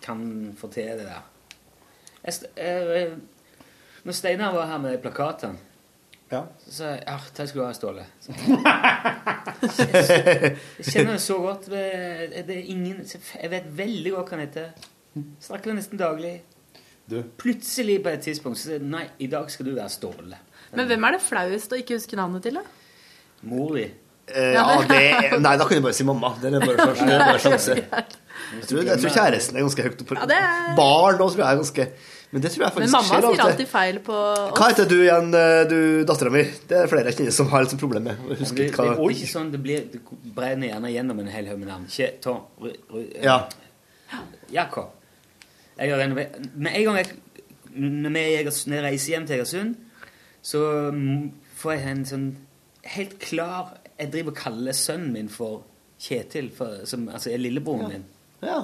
kan få til det der. Jeg, st- eh, eh, når Steinar var her med plakatene, så sa jeg at det skulle du ha, Ståle. Så- Jeg, jeg kjenner det så godt. Det det er ingen, jeg vet veldig godt hva han heter. Snakker vi nesten daglig. Du. Plutselig på et tidspunkt så sier jeg nei, i dag skal du være Ståle. Men hvem er det flauest å ikke huske navnet til, da? Mor di. Eh, ja, det er, nei, da kan du bare si mamma. Det er bare sjanse. Det er bare sjanse. Jeg tror, jeg tror kjæresten er ganske høyt oppe. Ja, det er- Barn nå tror jeg er ganske Men det tror jeg Men faktisk mamma skjer av sier og til. alltid feil på Hva heter du igjen, eh, du dattera mi? Det er flere jeg kjenner som har litt sånn problem med å huske Det, det hva er ikke sånn det blir Du brenner gjerne gjennom en hel haug med navn. Ikke Tom Ru, Ru, eh, Ja. Jakob. Jeg gjør en, med en gang jeg, når jeg, Egers- når jeg reiser hjem til Egersund, så mm, får jeg en sånn helt klar Jeg driver og kaller sønnen min for Kjetil, for, som altså er lillebroren min. Ja.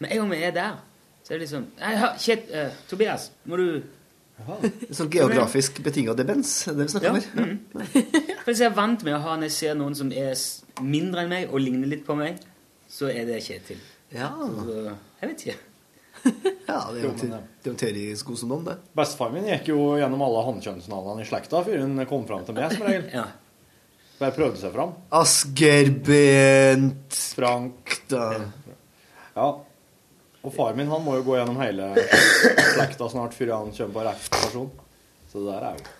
Med en gang vi er der, så er det liksom Nei, hør, Kjet, eh, Tobias, må du Sånn geografisk betinga demens, er det vi snakker om her. For hvis jeg er vant med å ha, når jeg ser noen som er s- mindre enn meg og ligner litt på meg, så er det Kjetil. Ja. Så, jeg vet ikke. Ja, det er jo en te- det er jo en teori god som noen, det. Bestefaren min gikk jo gjennom alle hannkjønnsnavnene i slekta før hun kom fram til meg, som regel. Bare prøvde seg fram. Asgeir Bent Frank da. Ja. Og far min han må jo gå gjennom hele slekta snart før han kommer på rett person. Så det der er jo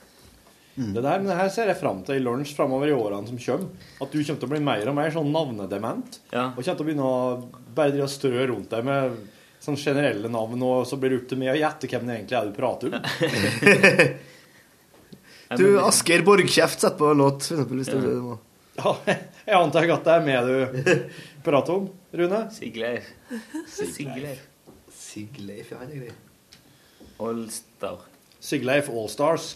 Mm. det, der, men det her ser jeg fram til i lunsj framover i årene som kommer. At du kommer til å bli mer og mer sånn navnedement. Og kommer til å begynne å bare drive og strø rundt deg med sånn generelle navn, og så blir det opp til meg å gjette hvem det egentlig er du prater om. Du, Asgeir Borgkjeft setter på en låt, for eksempel, hvis det blir det nå. Ja, jeg antar ikke at det er med du prater om, Rune? Sigleif. Sigleif. Sigleif, ja, han er grei. Allstar. Sigleif Allstars.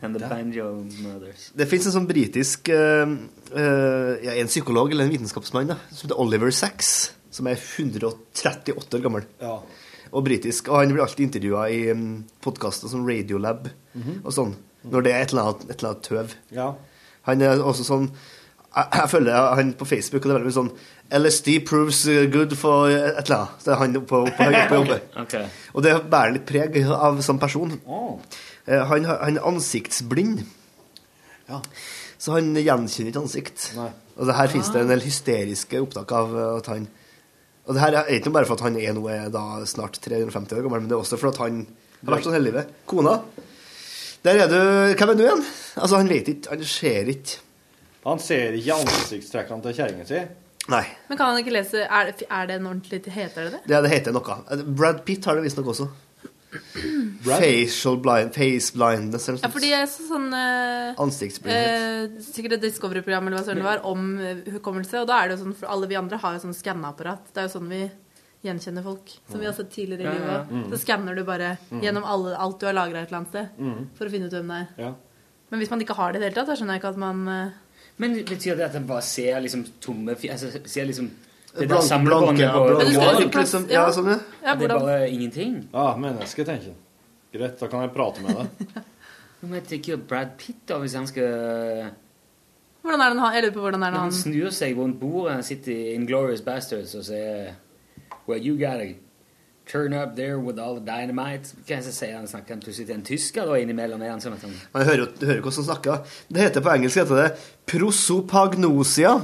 And the Banjo Mothers. Det fins en sånn britisk eh, eh, ja, En psykolog eller en vitenskapsmann da, som heter Oliver Sacks, som er 138 år gammel. Og britisk. Og han blir alltid intervjua i um, podkaster som Radiolab Mhm. og sånn, når det er et eller annet, et eller annet tøv. Ja. Han er også sånn jeg, jeg følger han på Facebook, og det er veldig mye sånn LSD proves eh, good for et eller annet. Så det er han oppe på, på jobb. Ok. Og det bærer litt preg av som person. Oh. Eh, Han, har- han er ansiktsblind. Ja. Så han gjenkjenner ikke ansikt. Og det her finnes det en del hysteriske opptak av eh, at han Og det her er ikke bare for at han er nå er da snart 350 år gammel, men det er også for at han har vært sånn hele livet. Kona Der er du Hvem er du igjen? Altså, han vet ikke. Han ser ikke. Han ser ikke ansiktstrekkene til kjerringa si? Nei. Men kan han ikke lese Er det, er det en ordentlig Heter det det? Det, det heter noe. Brad Pitt har det visstnok også. Brad? Facial blind, face blindness eller Ja, noe sånt. fordi jeg så sånn eh, Ansiktsblindhet. eh, Sikkert et Discovery-program eller hva søren det var om eh, hukommelse. Og da er det jo sånn, for alle vi andre har jo sånn skanneapparat. Det er jo sånn vi gjenkjenner folk. Som vi har sett tidligere Ja, i ja, livet. ja. også. Så skanner du bare Mm. gjennom alle, alt du har lagra et eller annet sted. Mm. For å finne ut hvem det er. Ja. Men hvis man ikke har det i det hele tatt, da skjønner jeg ikke at man eh, Men betyr det at en bare ser liksom tomme fi- Altså ser liksom det der Blanke- samlebåndet blanke- og blanke- Men du skal jo blanke, liksom. Ja, sånn, ja. Ja, Det er hvordan- bare ingenting? Ja, menneske, tenker jeg. Greit, da kan jeg prate med deg. Men jeg tenker jo Brad Pitt, da, hvis han skal Hvordan er det han, Jeg lurer på hvordan er Når det han han snur seg rundt bordet, han sitter i Inglorious Bastards og sier Well, you gotta turn up there with all the dynamite. Hva er det sier han? Snakker han plutselig til en tysker da innimellom? Er han sånn at han Man hører, jo- du hører jo hvordan han snakker. Det heter på engelsk heter det prosopagnosia.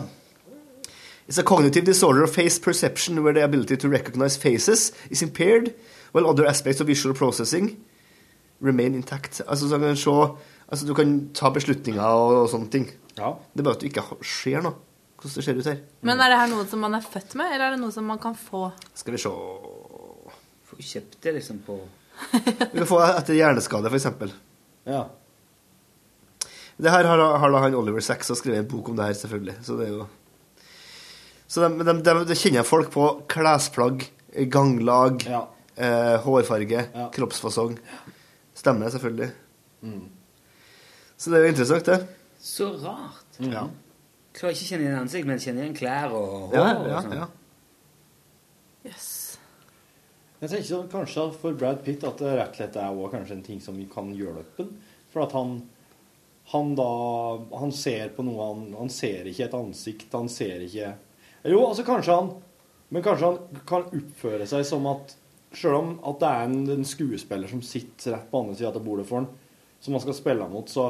It's a cognitive disorder of face perception where the ability to recognize faces is impaired, while other aspects of visual processing remain intact. Altså, så kan du, se, altså, du kan ta beslutninger og, og sånne ting. Det er bare at du ikke har- ser noe. Hvordan det ser ut her. Men er det her noe som man er født med, eller er det noe som man kan få? Skal vi se Får kjøpt det liksom på Vi kan få etter hjerneskade, f.eks. Ja. Det her har, har da han Oliver Sacks og skrevet en bok om det her, selvfølgelig. Så det er jo Så de, de, de, de kjenner folk på klesplagg, ganglag, eh, hårfarge, kroppsfasong. Stemme, selvfølgelig. Mm. Så det er jo interessant, det. Så rart. Ja. Klarer ikke å kjenne igjen ansikt, men kjenner igjen klær og hår. Ja, og ja, sånn. ja. Jeg tenker sånn, kanskje for Brad Pitt at det rett og slett er også kanskje en ting som vi kan hjelpe ham. For at han, han da Han ser på noe han, han ser ikke et ansikt, han ser ikke Jo, altså kanskje han Men kanskje han kan oppføre seg som at Sjøl om at det er en, en skuespiller som sitter rett på andre sida av bordet for han, som han skal spille mot, så,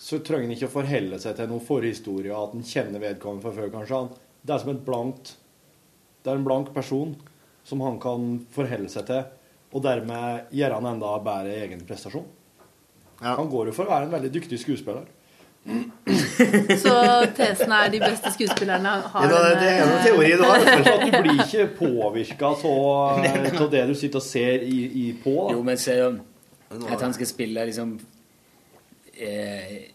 så trenger han ikke å forholde seg til noen forhistorie, at han kjenner vedkommende fra før, kanskje. Han, det er som et blankt det er en blank person som han kan forholde seg til, og dermed gjøre han enda bedre i egen prestasjon. Han går jo for å være en veldig dyktig skuespiller. Så tesen er de beste skuespillerne har en teori, det var. At du blir ikke påvirka av det du sitter og ser i, i på. Jo, men se at han skal spille liksom eh,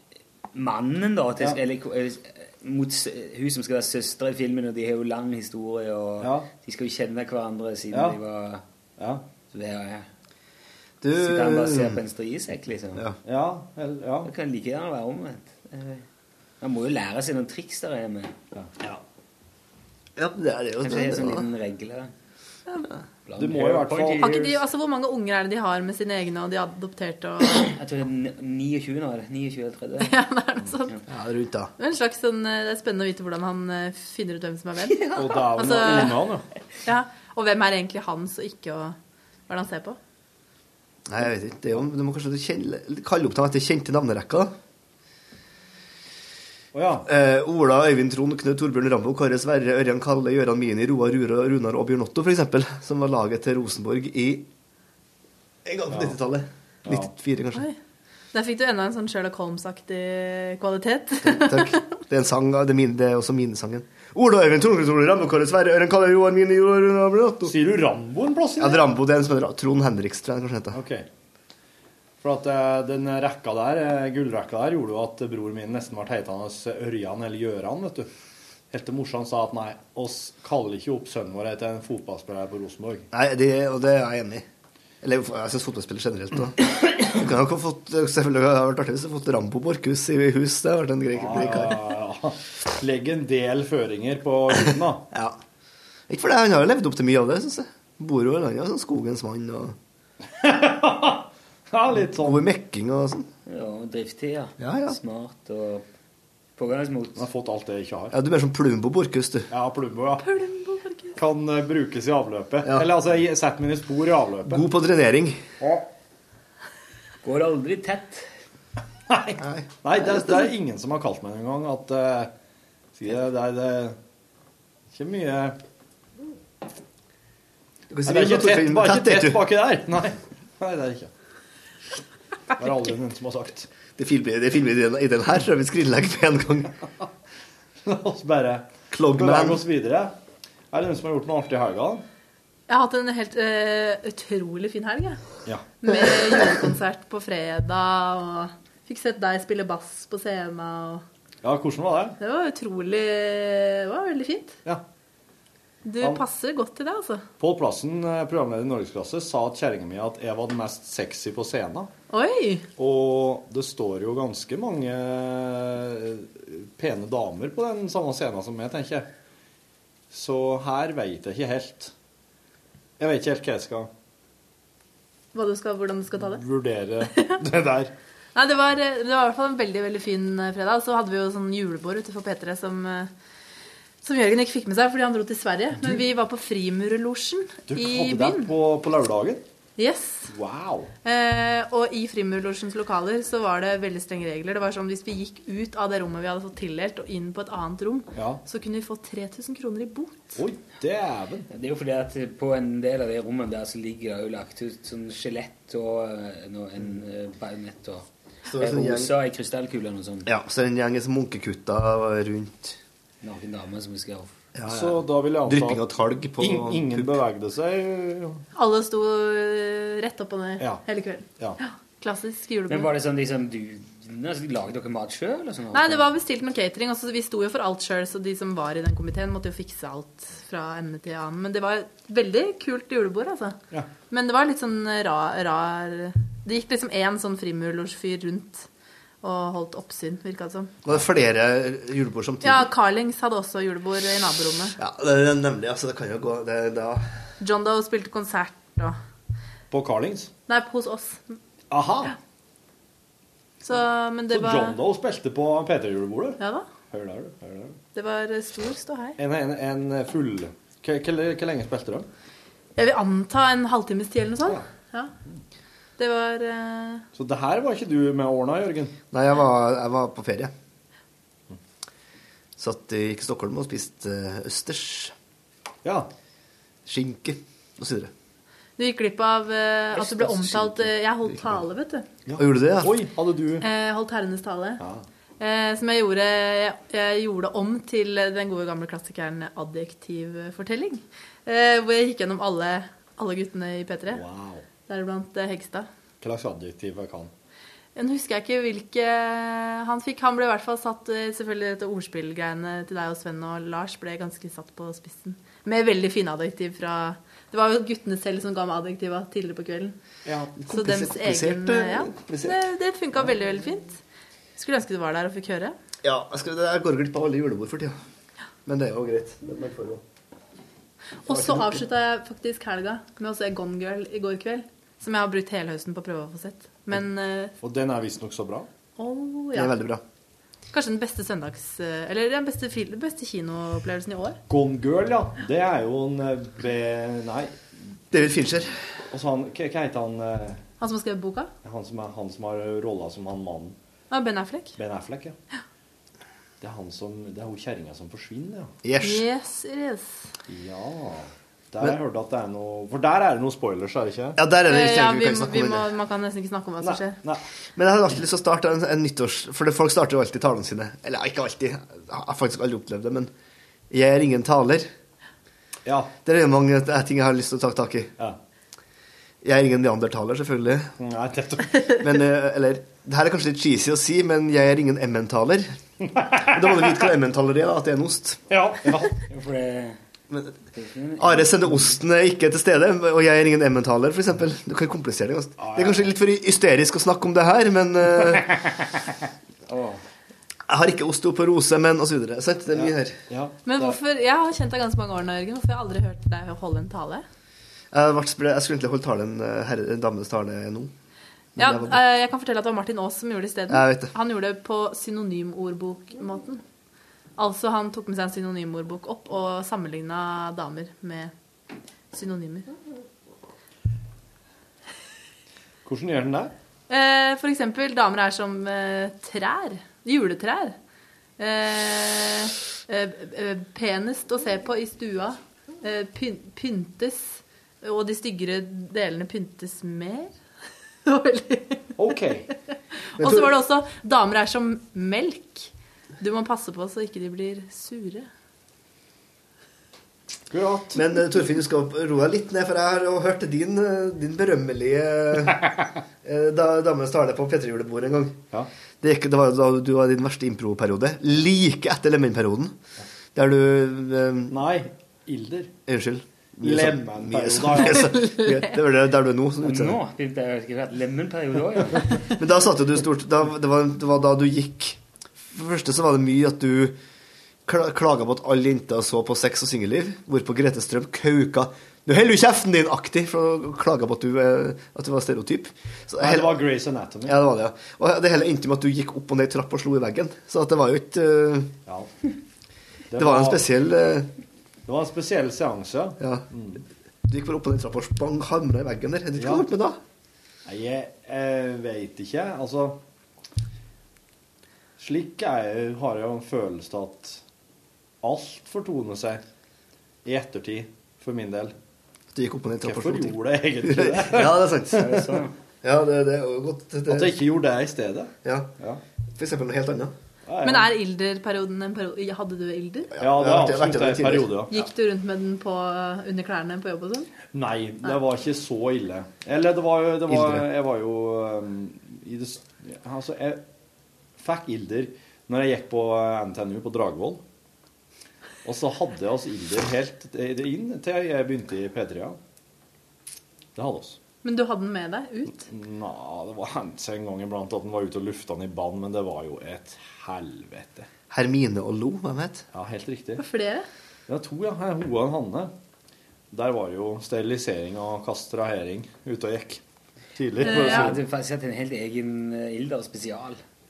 mannen, da. Til, Ja. Eller eh, mot s- hun som skal være søstre i filmen, og de har jo lang historie, og Ja. de skal jo kjenne hverandre siden Ja. de var Så det er Du- Sitter han bare og ser på en strisekk, liksom. Ja. Det kan like gjerne være omvendt. Eh, Han må jo lære seg noen triks der hjemme. Ja. Ja, det er jo Kanskje det er en det, sånn da. liten regle. Det må i hvert fall Har ikke de, altså, hvor mange unger er det de har med sine egne og de adopterte? Og... Jeg tror det er ni- 29 nå, eller 29 eller 30. Ja, det er noe sånt. Ja, rundt da. Det er, en slags sånn, eh, det er spennende å vite hvordan han eh, finner ut hvem som er hvem. Altså, Og da er vel noen unger, ja. Og hvem er egentlig hans og ikke, og hva er det han ser på? Nei, jeg vet ikke. Det er jo, du må kanskje kjenne, kalle opp dem etter kjente navnerekka. da. Eh, Ola, Øyvind Trond, Knut Torbjørn Rambo, Kåre Sverre, Ørjan Kalle, Gøran Mini, Roar Rura, Runar og Bjørn Otto, for eksempel, som var laget til Rosenborg i en gang på 90-tallet. 94, kanskje. Oi. Der fikk du enda en sånn Sherlock Holmes-aktig kvalitet. Det er en sang, det er, min, det er også minesangen. Ola, Øyvind Trond, Knut Torbjørn Rambo, Kåre Sverre, Ørjan Kalle, Roar Mini, Roar Runar og Bjørn Otto. Sier du Rambo en plass i Ja, det det? er Rambo, det er en som heter Trond Henriks, tror jeg kanskje det heter. Ok. For at eh, den rekka der, eh, gullrekka der, gjorde jo at bror min nesten ble hetende Ørjan eller Gjøran, vet du. Helt til morsan sa at nei, oss kaller ikke opp sønnen vår etter en fotballspiller på Rosenborg. Nei, det, og det er jeg enig i. Eller jeg syns fotballspillere generelt da. Du kan jo ha fått, selvfølgelig har det vært artig hvis du har fått Rambo Borchhus i hus. Det har vært en grei grei kar. Ja, Legg en del føringer på gutten, da. ja. Ikke for det, han har jo levd opp til mye av det, syns jeg. Bor jo i landet, sånn skogens mann og Ja, litt sånn. Over mekking og sånn. Ja, og driftid, ja. Ja, ja. Smart og pågangsmot. Han har fått alt det jeg ikke har. Ja, du er mer som Plumbo Borchhus, du. Ja, Plumbo, ja. Kan eh, brukes i avløpet. Eller altså, jeg setter mine spor i avløpet. God på drenering. Går aldri tett. Nei, Nei det, er, det er ingen som har kalt meg noen gang at eh, Skal jeg det, er- det er ikke mye kan si Nei, Det er ikke vi tett, motorfilm. bare Tett, ikke tett du. baki der. Nei. Nei, det er ikke. Det er aldri noen som har sagt. Det filmer det filmer i, den, i den her, så vi skrinlegger med en gang. La oss bare Clogman. bevege oss videre. Er det noen som har gjort noe artig i helga? Jeg har hatt en helt eh, utrolig fin helg, jeg. Ja. Med julekonsert på fredag, og fikk sett deg spille bass på scenen. Og... ja, hvordan var det? Det var utrolig Det var veldig fint. Ja. Du Han- passer godt til det, altså. Pål Plassen, eh, programleder i Norgesklasse, sa at kjerringa mi at jeg var den mest sexy på scenen. Oi! Og det står jo ganske mange eh, pene damer på den samme scenen som meg, tenker jeg. Så her veit jeg ikke helt. Jeg vet ikke helt hva jeg skal Hva du skal, hvordan du skal ta det. vurdere det der. Nei, det var, eh, det var i hvert fall en veldig veldig fin eh, fredag. Så hadde vi jo sånn julebord utenfor P3 som, eh, som Jørgen ikke fikk med seg fordi han dro til Sverige. Men vi var på Frimurlosjen Du i hadde deg byen. på, på lørdagen? Yes. Wow. Eh, og i Frimurlosjens lokaler så var det veldig strenge regler. Det var sånn Hvis vi gikk ut av det rommet vi hadde fått tildelt, og inn på et annet rom, Ja. så kunne vi få 3000 kroner i bot. Oi, dæven. Det er jo fordi at på en del av de rommene der så ligger det jo lagt ut sånn skjelett og eh, noe- en eh, bajonett og Så det er en sånn gjeng- rosa i krystallkule og sånn. noe sånt. Ja, så er det en gjeng som munkekutta rundt. Noen damer som vi skal Ja, ja. Så da vil jeg anta Drypping av talg på In, ingen bevegde seg. Alle sto eh, rett opp og ned Ja. hele kvelden. Ja. Klassisk Men julebord. var det sånn liksom du altså, Lagde dere mat sjøl? Sånn, Nei, det var bestilt noe catering. Også, vi sto jo for alt sjøl, så de som var i den komiteen, måtte jo fikse alt fra ende til annen. Men det var et veldig kult julebord, altså. Ja. Men det var litt sånn rar, rar Det gikk liksom én sånn frimurlosjfyr rundt og holdt oppsyn, virka det som. Og det er flere julebord samtidig. Ja, Carlings hadde også julebord i naborommet. Ja, det er nemlig, altså, det kan jo gå det, da. John Doe spilte konsert og På Carlings? Nei, hos oss. Aha. Så, men det Så var John Doe spilte på P3-julebordet? Ja da. Hør der, du. Hør der. du. Det var stor ståhei. En, en, en full Hvor lenge spilte de? Jeg vil anta en halvtimes tid eller noe sånt. Ja. Det var eh, Så det her var ikke du med og ordna, Jørgen? Nei, jeg var, jeg var på ferie. Satt i gikk i Stockholm og spiste eh, østers. Ja. Skinke og så videre. Du gikk glipp av eh, at du ble Østers omtalt eh, Jeg holdt tale, vet du. Og gjorde du det? Oi, hadde du Eh, holdt herrenes tale. Eh, som jeg gjorde, jeg, jeg gjorde om til den gode gamle klassikeren adjektivfortelling. Eh, hvor jeg gikk gjennom alle, alle guttene i P3. Wow. Deriblant eh, Hegstad. Hva slags adjektiv jeg kan? Eh, Nå husker jeg ikke hvilke han fikk. Han ble i hvert fall satt eh, Selvfølgelig dette ordspillgreiene til deg og Sven og Lars ble ganske satt på spissen. Med veldig fine adjektiv fra Det var jo guttene selv som ga meg adjektiva tidligere på kvelden. Ja, Så dems egen Ja. Det, Eh, det funka veldig, veldig fint. Skulle ønske du var der og fikk høre. Ja, jeg, skal, jeg går glipp av alle julebord for tida. Men det er jo greit. Det er bare for å- Og så avslutta jeg faktisk helga med å se Gone Girl i går kveld. Som jeg har brukt hele høsten på å prøve å få sett. Men eh, Og den er visstnok så bra. å, Oh, ja. bra. Kanskje den beste søndags... eh, Eller den beste, fil- beste kinoopplevelsen i år. Gone Girl, ja. Det er jo en eh, B... Nei. David Fincher. Og så han, hva hva heter han eh, Han som har skrevet boka? Han som, er, han som har rolla som han mannen? Ah, ben Affleck. Ben Affleck, ja. Det er han som Det er hun kjerringa som forsvinner, ja. Yes, it is. Ja Der har jeg hørt at det er noe For der er det noen spoilers, er det ikke? Ja, der er det Eh, ikke ja, vi vi, kan må, snakke vi om må, det. man kan nesten ikke snakke om hva som skjer. Men jeg hadde alltid lyst til å starte en, en nyttårs... For det, folk starter jo alltid talene sine. Eller ikke alltid. Jeg har faktisk aldri opplevd det, men jeg er ingen taler. Ja. Det er mange t- ting jeg har lyst til å ta tak i. Jeg er ingen neandertaler, selvfølgelig. Nei, Mm, nettopp. Men, eh, eller, det her er kanskje litt cheesy å si, men jeg er ingen emmentaler. Men Da må du vite hva emmentaler er, da, at det er en ost. Ja. For det Are sender osten er ikke til stede, og jeg er ingen emmentaler, for eksempel. Du kan komplisere det ganske. Ah, Det er kanskje litt for hysterisk å snakke om det her, men... eh, Jeg har ikke osteoporose, men og så videre. Sant? Det er mye her. Men hvorfor, Jeg har kjent deg ganske mange år, nå, Jørgen. Hvorfor har jeg aldri hørt deg holde en tale? Jeg, ble, spre- jeg skulle egentlig holdt talen, eh, herre, damenes tale nå. Men Ja, jeg var- eh, jeg kan fortelle at det var Martin Aas som gjorde det isteden. Jeg vet det. Han gjorde det på synonymordbokmåten. Altså han tok med seg en synonymordbok opp og sammenligna damer med synonymer. Hvordan gjør den det? Eh, For eksempel, damer er som eh, trær. Juletrær. Eh, eh, eh, penest å se på i stua. Eh, pyn pyntes. Og de styggere delene pyntes mer. OK. Og så var det også damer er som melk. Du må passe på så ikke de blir sure. Men eh, Torfinn, du skal roe deg litt ned, for jeg har jo hørt din, eh, din berømmelige eh, da- damenes tale på P3-julebordet en gang. Det, gikk, det var jo da du var i din verste improperiode. Like etter Lemen-perioden. Der du eh, Nei. Ilder. Unnskyld. Lemen-perioden, Mye så- ja. mye sånn- så- mye- Det var det- der du er nå. Sånn utseende. Nå det har ikke vært lemenperiode òg, ja. Men da satte du stort da, det, var, det var da du gikk For det første så var det mye at du kla- klaga på at alle jenter så på sex og singelliv, hvorpå Grete Strøm kauka 'Nå holder du kjeften din!' aktig, for å klage på at du, eh, at du var stereotyp. Så Nei, hele- det var Grace Anatomy. ja, det var det, ja. Og det hele endte med at du gikk opp og ned i trappa og slo i veggen. Så at det var jo ikke eh, Ja. det, var en spesiell eh, Det var en spesiell seanse. Mm. Ja. Du gikk bare opp og ned i trappa og spang hamra i veggen der. Jeg vet ikke hva du holdt på med da. Nei, jeg, jeg veit ikke. Altså Slik er jeg, har jeg jo en følelse av at alt fortoner seg i ettertid, for min del. Du gikk opp og ned i trappa og Hvorfor slo ting. gjorde jeg egentlig det? ja, det er sant. Ja, det, det er jo godt. Det- At jeg ikke gjorde det i stedet? Ja. For eksempel noe helt annet. Men er ilderperioden en periode Hadde du ilder? Ja, det Ja, er det har vært absolutt det en tidligere. periode, ja. Gikk du rundt med den på, under klærne på jobb og sånn? Nei, det var ikke så ille. Eller det var jo det var, Ilder. Jeg var jo um, i det, s- Altså, jeg fikk ilder når jeg gikk på eh, NTNU på Dragvoll. Og så hadde jeg altså ilder helt t- inn til jeg begynte i P3. ja. Det hadde oss. Men du hadde den med deg ut? Nå, det var hendt seg en gang iblant at den var ute og lufta den i bann, men det var jo et helvete. Hermine og Lo, hvem het? Ja, helt riktig. Det var flere? Ja, to, ja. Her, Hoa og Hanne. Der var jo sterilisering og kastrahering ute og gikk. Tidlig. Eh, ja. Det, Du har sett en helt egen eh, Ilder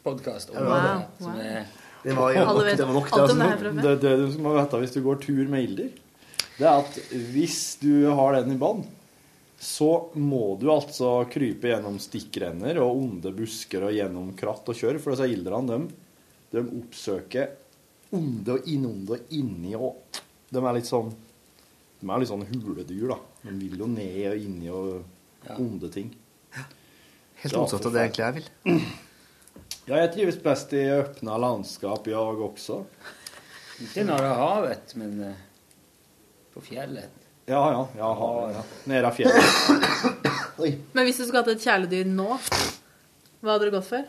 spesialpodkast om Ja, det var det. det. Som er Det var jo Alle nok- vet det var nok, det, alt om altså. det her fra før. det, det du må vite hvis du går tur med Ilder, det er at hvis du har den i bånd, så må du altså krype gjennom stikkrenner og onde busker og gjennom kratt og kjør, for disse Ilderne, de, de oppsøker onde og inonde og inni og De er litt sånn De er litt sånn huledyr, da. De vil jo ned og inni og onde ting. Helt Ja, motsatt av det egentlig jeg vil. Ja, jeg trives best i åpna landskap, jeg også. Ikke når det er havet, men eh, på fjellet. Ja, ja. ja, havet, ja. Nede av fjellet. Men hvis du skulle hatt et kjæledyr nå, hva hadde du gått for?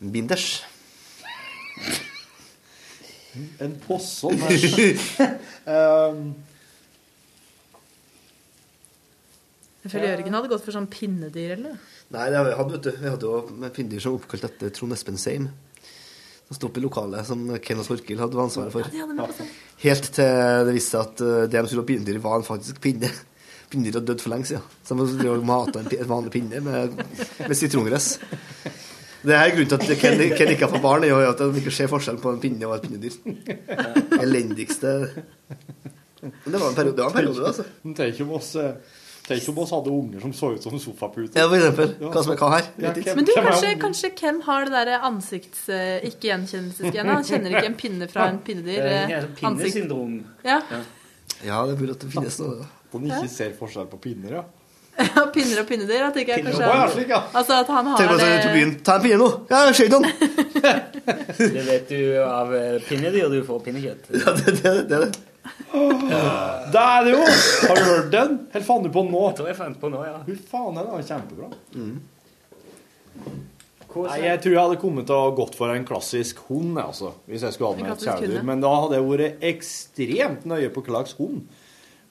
Binders. En possel. men- Ehm, Jeg føler Jørgen hadde gått for sånn pinnedyr eller noe. Nei, det har vi hatt, vet du. Vi hadde jo pindyr som var oppkalt etter Trond Espen Seim. som sto oppe i lokalet som Ken og Torkil hadde ansvaret for. Ja, det hadde vi på seg. Helt til det viste seg at eh, det de skulle ha pinnedyr i, var en faktisk pinne. Pinnedyr hadde dødd for lenge siden. Så de drev og matet en, pi- en vanlig pinne med, med sitrongress. Det her er grunnen til at Ken, Ken ikke har fått barn, er jo at de ikke ser forskjell på en pinne og et pinnedyr. Elendigste Men det var en periode, det var en periode altså. Men Tenk om oss eh, Tenk om oss hadde unger som så ut som sofaputer. Ja, for eksempel. Hva som er hva her? Ja, hvem- Men du, hvem er kanskje, ungen? kanskje Ken har det derre ansikts... eh, Ikke gjenkjennelsesgenet. Han kjenner ikke en pinne fra en Det pinnedyr. eh, er sånn pinnesyndrom. Ja. Ja, det er mulig at det finnes noe. Om de ikke ser forskjell på pinner, ja. ja, pinner og pinnedyr. Da tenker jeg Pinner og- Å, kanskje ja, han, slik, Altså at han Tenk har på at jeg til det byen. Ta en pinne nå! Ja, jeg ser ikke noen! Det vet du av eh, pinnedyr. Du får pinnekjøtt. Ja, det, det, det, det. Det er det jo! Har du hørt den? Eller fant du på den nå? Jeg tror jeg fant på nå, ja. Fy faen, den var kjempebra. Mm. Nei, jeg tror jeg hadde kommet til å ha gått for en klassisk hund, jeg, altså, hvis jeg skulle hatt En med et klassisk hund, kjæledyr. ja. Men da hadde jeg vært ekstremt nøye på hva slags hund.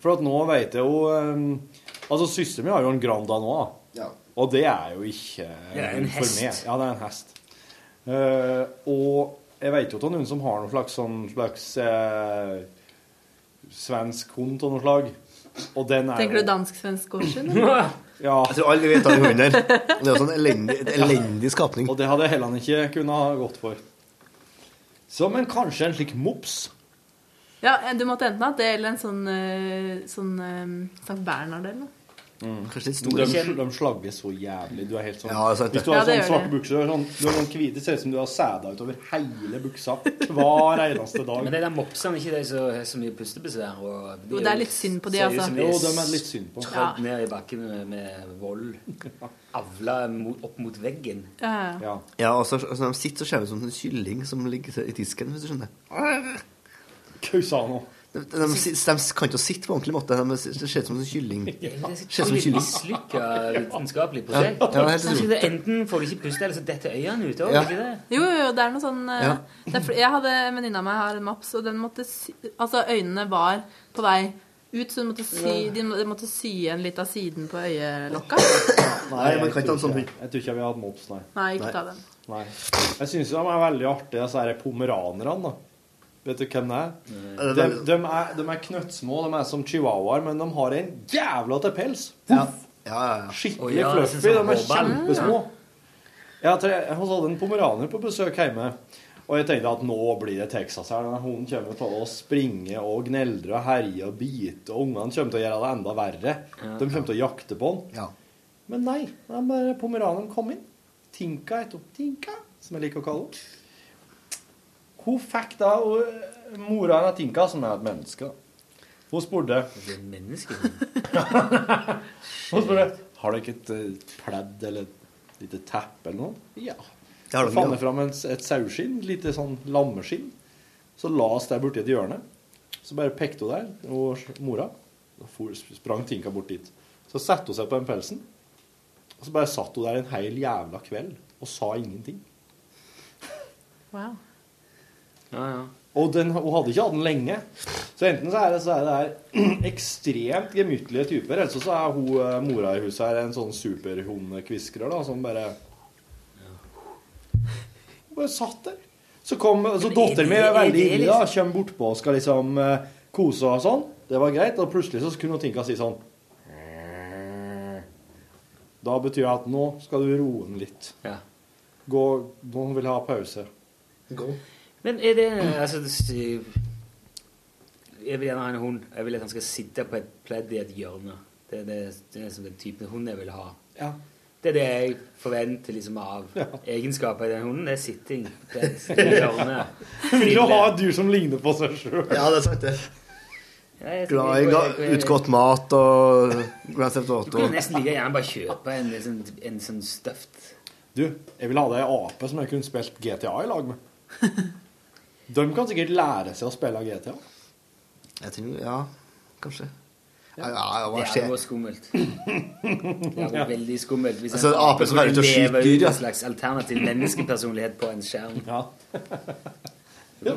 For at nå vet jeg jo eh, Altså, søsteren min har jo en Granda nå, da. Ja. Og det er jo ikke eh, Det er en hund for hest. meg. Ja, det er en hest. Eh, og jeg vet jo av noen som har noen slags sånn slags eh, svensk hund av noe slag. Og den er Tenker jo du dansk-svensk gårdsund? ja. eller? Jeg tror alle vet han hunden der. Det er også en elendig, et elendig skapning. Og det hadde jeg heller ikke kunnet ha gått for. Så, men kanskje en slik mops? Ja, du måtte enten ha det eller en sånn, eh, sånn eh, Sankt Bernhard eller noe. Kanskje litt Men stor. De, de slagger så jævlig. Du er helt sånn Ja, altså, det er Hvis du sant, det. har Ja, det sånne gjør svarte bukser, du har sånn, du har sånn hvite, ser ut som du har sæda utover hele buksa hver eneste dag. Men de der mopsene er ikke de som har så mye pustebesvær? Og Jo, det er litt synd på de, altså. Jo, de er litt synd på. Trødd ned i bakken med, med vold. Avla mot, opp mot veggen. Ja, ja. Ja. Ja, og så, altså, de sitter og ser ut som en kylling som ligger i disken, hvis du skjønner. Kausano. De, de, de, sit- de kan ikke sitte på ordentlig måte. De ser ser ut som en kylling. Ser ut som en Litt kylling. mislykka vitenskapelig Ja, prosjekt. ja, helt Kanskje utrolig. det- Enten får du ikke puste, eller så detter øynene ut òg. Ja. ikke det? Jo, jo, det er noe sånn eh, Ja. det er, fl- Jeg hadde en venninne av meg har en mops, og den måtte sy, altså øynene var på vei ut, så den måtte sy, de må- de måtte sy igjen litt av siden på øyelokka. Nei, man kan ikke ha en sånn hund. Jeg tror ikke jeg vil ha en mops, nei. Nei, ikke ta den. Nei. Jeg syns de er veldig artige, disse her pomeranerne. da. Vet du hvem det er? Er det De, veldig- de er, de er knøttsmå, de er som chihuahuaer, men de har en jævla til pels. Å, Skikkelig ja, sånn det synes fluffy. jeg De er var barn. kjempesmå. Jeg hadde, jeg hadde en pomeraner på besøk hjemme, og jeg tenkte at nå blir det Texas her. Denne hunden kommer til å springe og gneldre og herje og bite, og ungene kommer til å gjøre det enda verre. De kommer til å jakte på den. Men nei, det er bare pomeraneren kom inn. Tinka heter hun. Tinka, som jeg liker å kalle henne. Hun fikk da og Mora hennes Tinka, som er et menneske, da. Hun spurte Menneske? Hun spurte Har dere et eh, pledd eller et lite teppe eller noe? Ja. Det har Så de, fant ja. jeg fram en, et saueskinn, et lite sånn lammeskinn. Så la oss der borti et hjørne. Så bare pekte hun der, og s- mora. Da for, sprang Tinka bort dit. Så satte hun seg på den pelsen, og så bare satt hun der en hel jævla kveld og sa ingenting. Wow. Og den, hun hadde ikke hatt den lenge. Så enten så er det, så er det her ekstremt gemyttlige typer, eller så- så er hun, eh, mora i huset her en sånn superhundekviskrer da, som bare Hun bare satt der. Så kom, så datteren min er veldig ivrig, da. Kommer bortpå og skal liksom eh, kose og sånn. Det var greit. Og plutselig så kunne hun tenke å si sånn Da betyr det at nå skal du roe den litt. Gå, nå vil jeg ha pause. Men er det altså, det- Jeg vil gjerne ha en hund. Jeg vil at han skal sitte på et pledd i et hjørne. Det er, det, det er som den typen hund jeg vil ha. Ja. Det er det jeg forventer liksom, av egenskaper i den hunden. Det er sitting. Det er i hjørnet. Vil du ha et dyr som ligner på seg sjøl? Ja, det er sant, det. Ja, jeg- Glad i jeg- ga- jeg- jeg- utgått mat og Grand Theft Du Auto. kunne nesten like gjerne bare kjøpe en, en, sånn- en sånn støft. Du, jeg vil ha deg ei ape som jeg kunne spilt GTA i lag med. De kan sikkert lære seg å spille GTA. Jeg tror, ja, kanskje. Ja, ja, hva Det hadde skjer? vært skummelt. Det hadde vært veldig skummelt hvis Altså, en ape som er ute og skulle skyter leve dyr, ut ja. en slags alternativ menneskepersonlighet på en skjerm.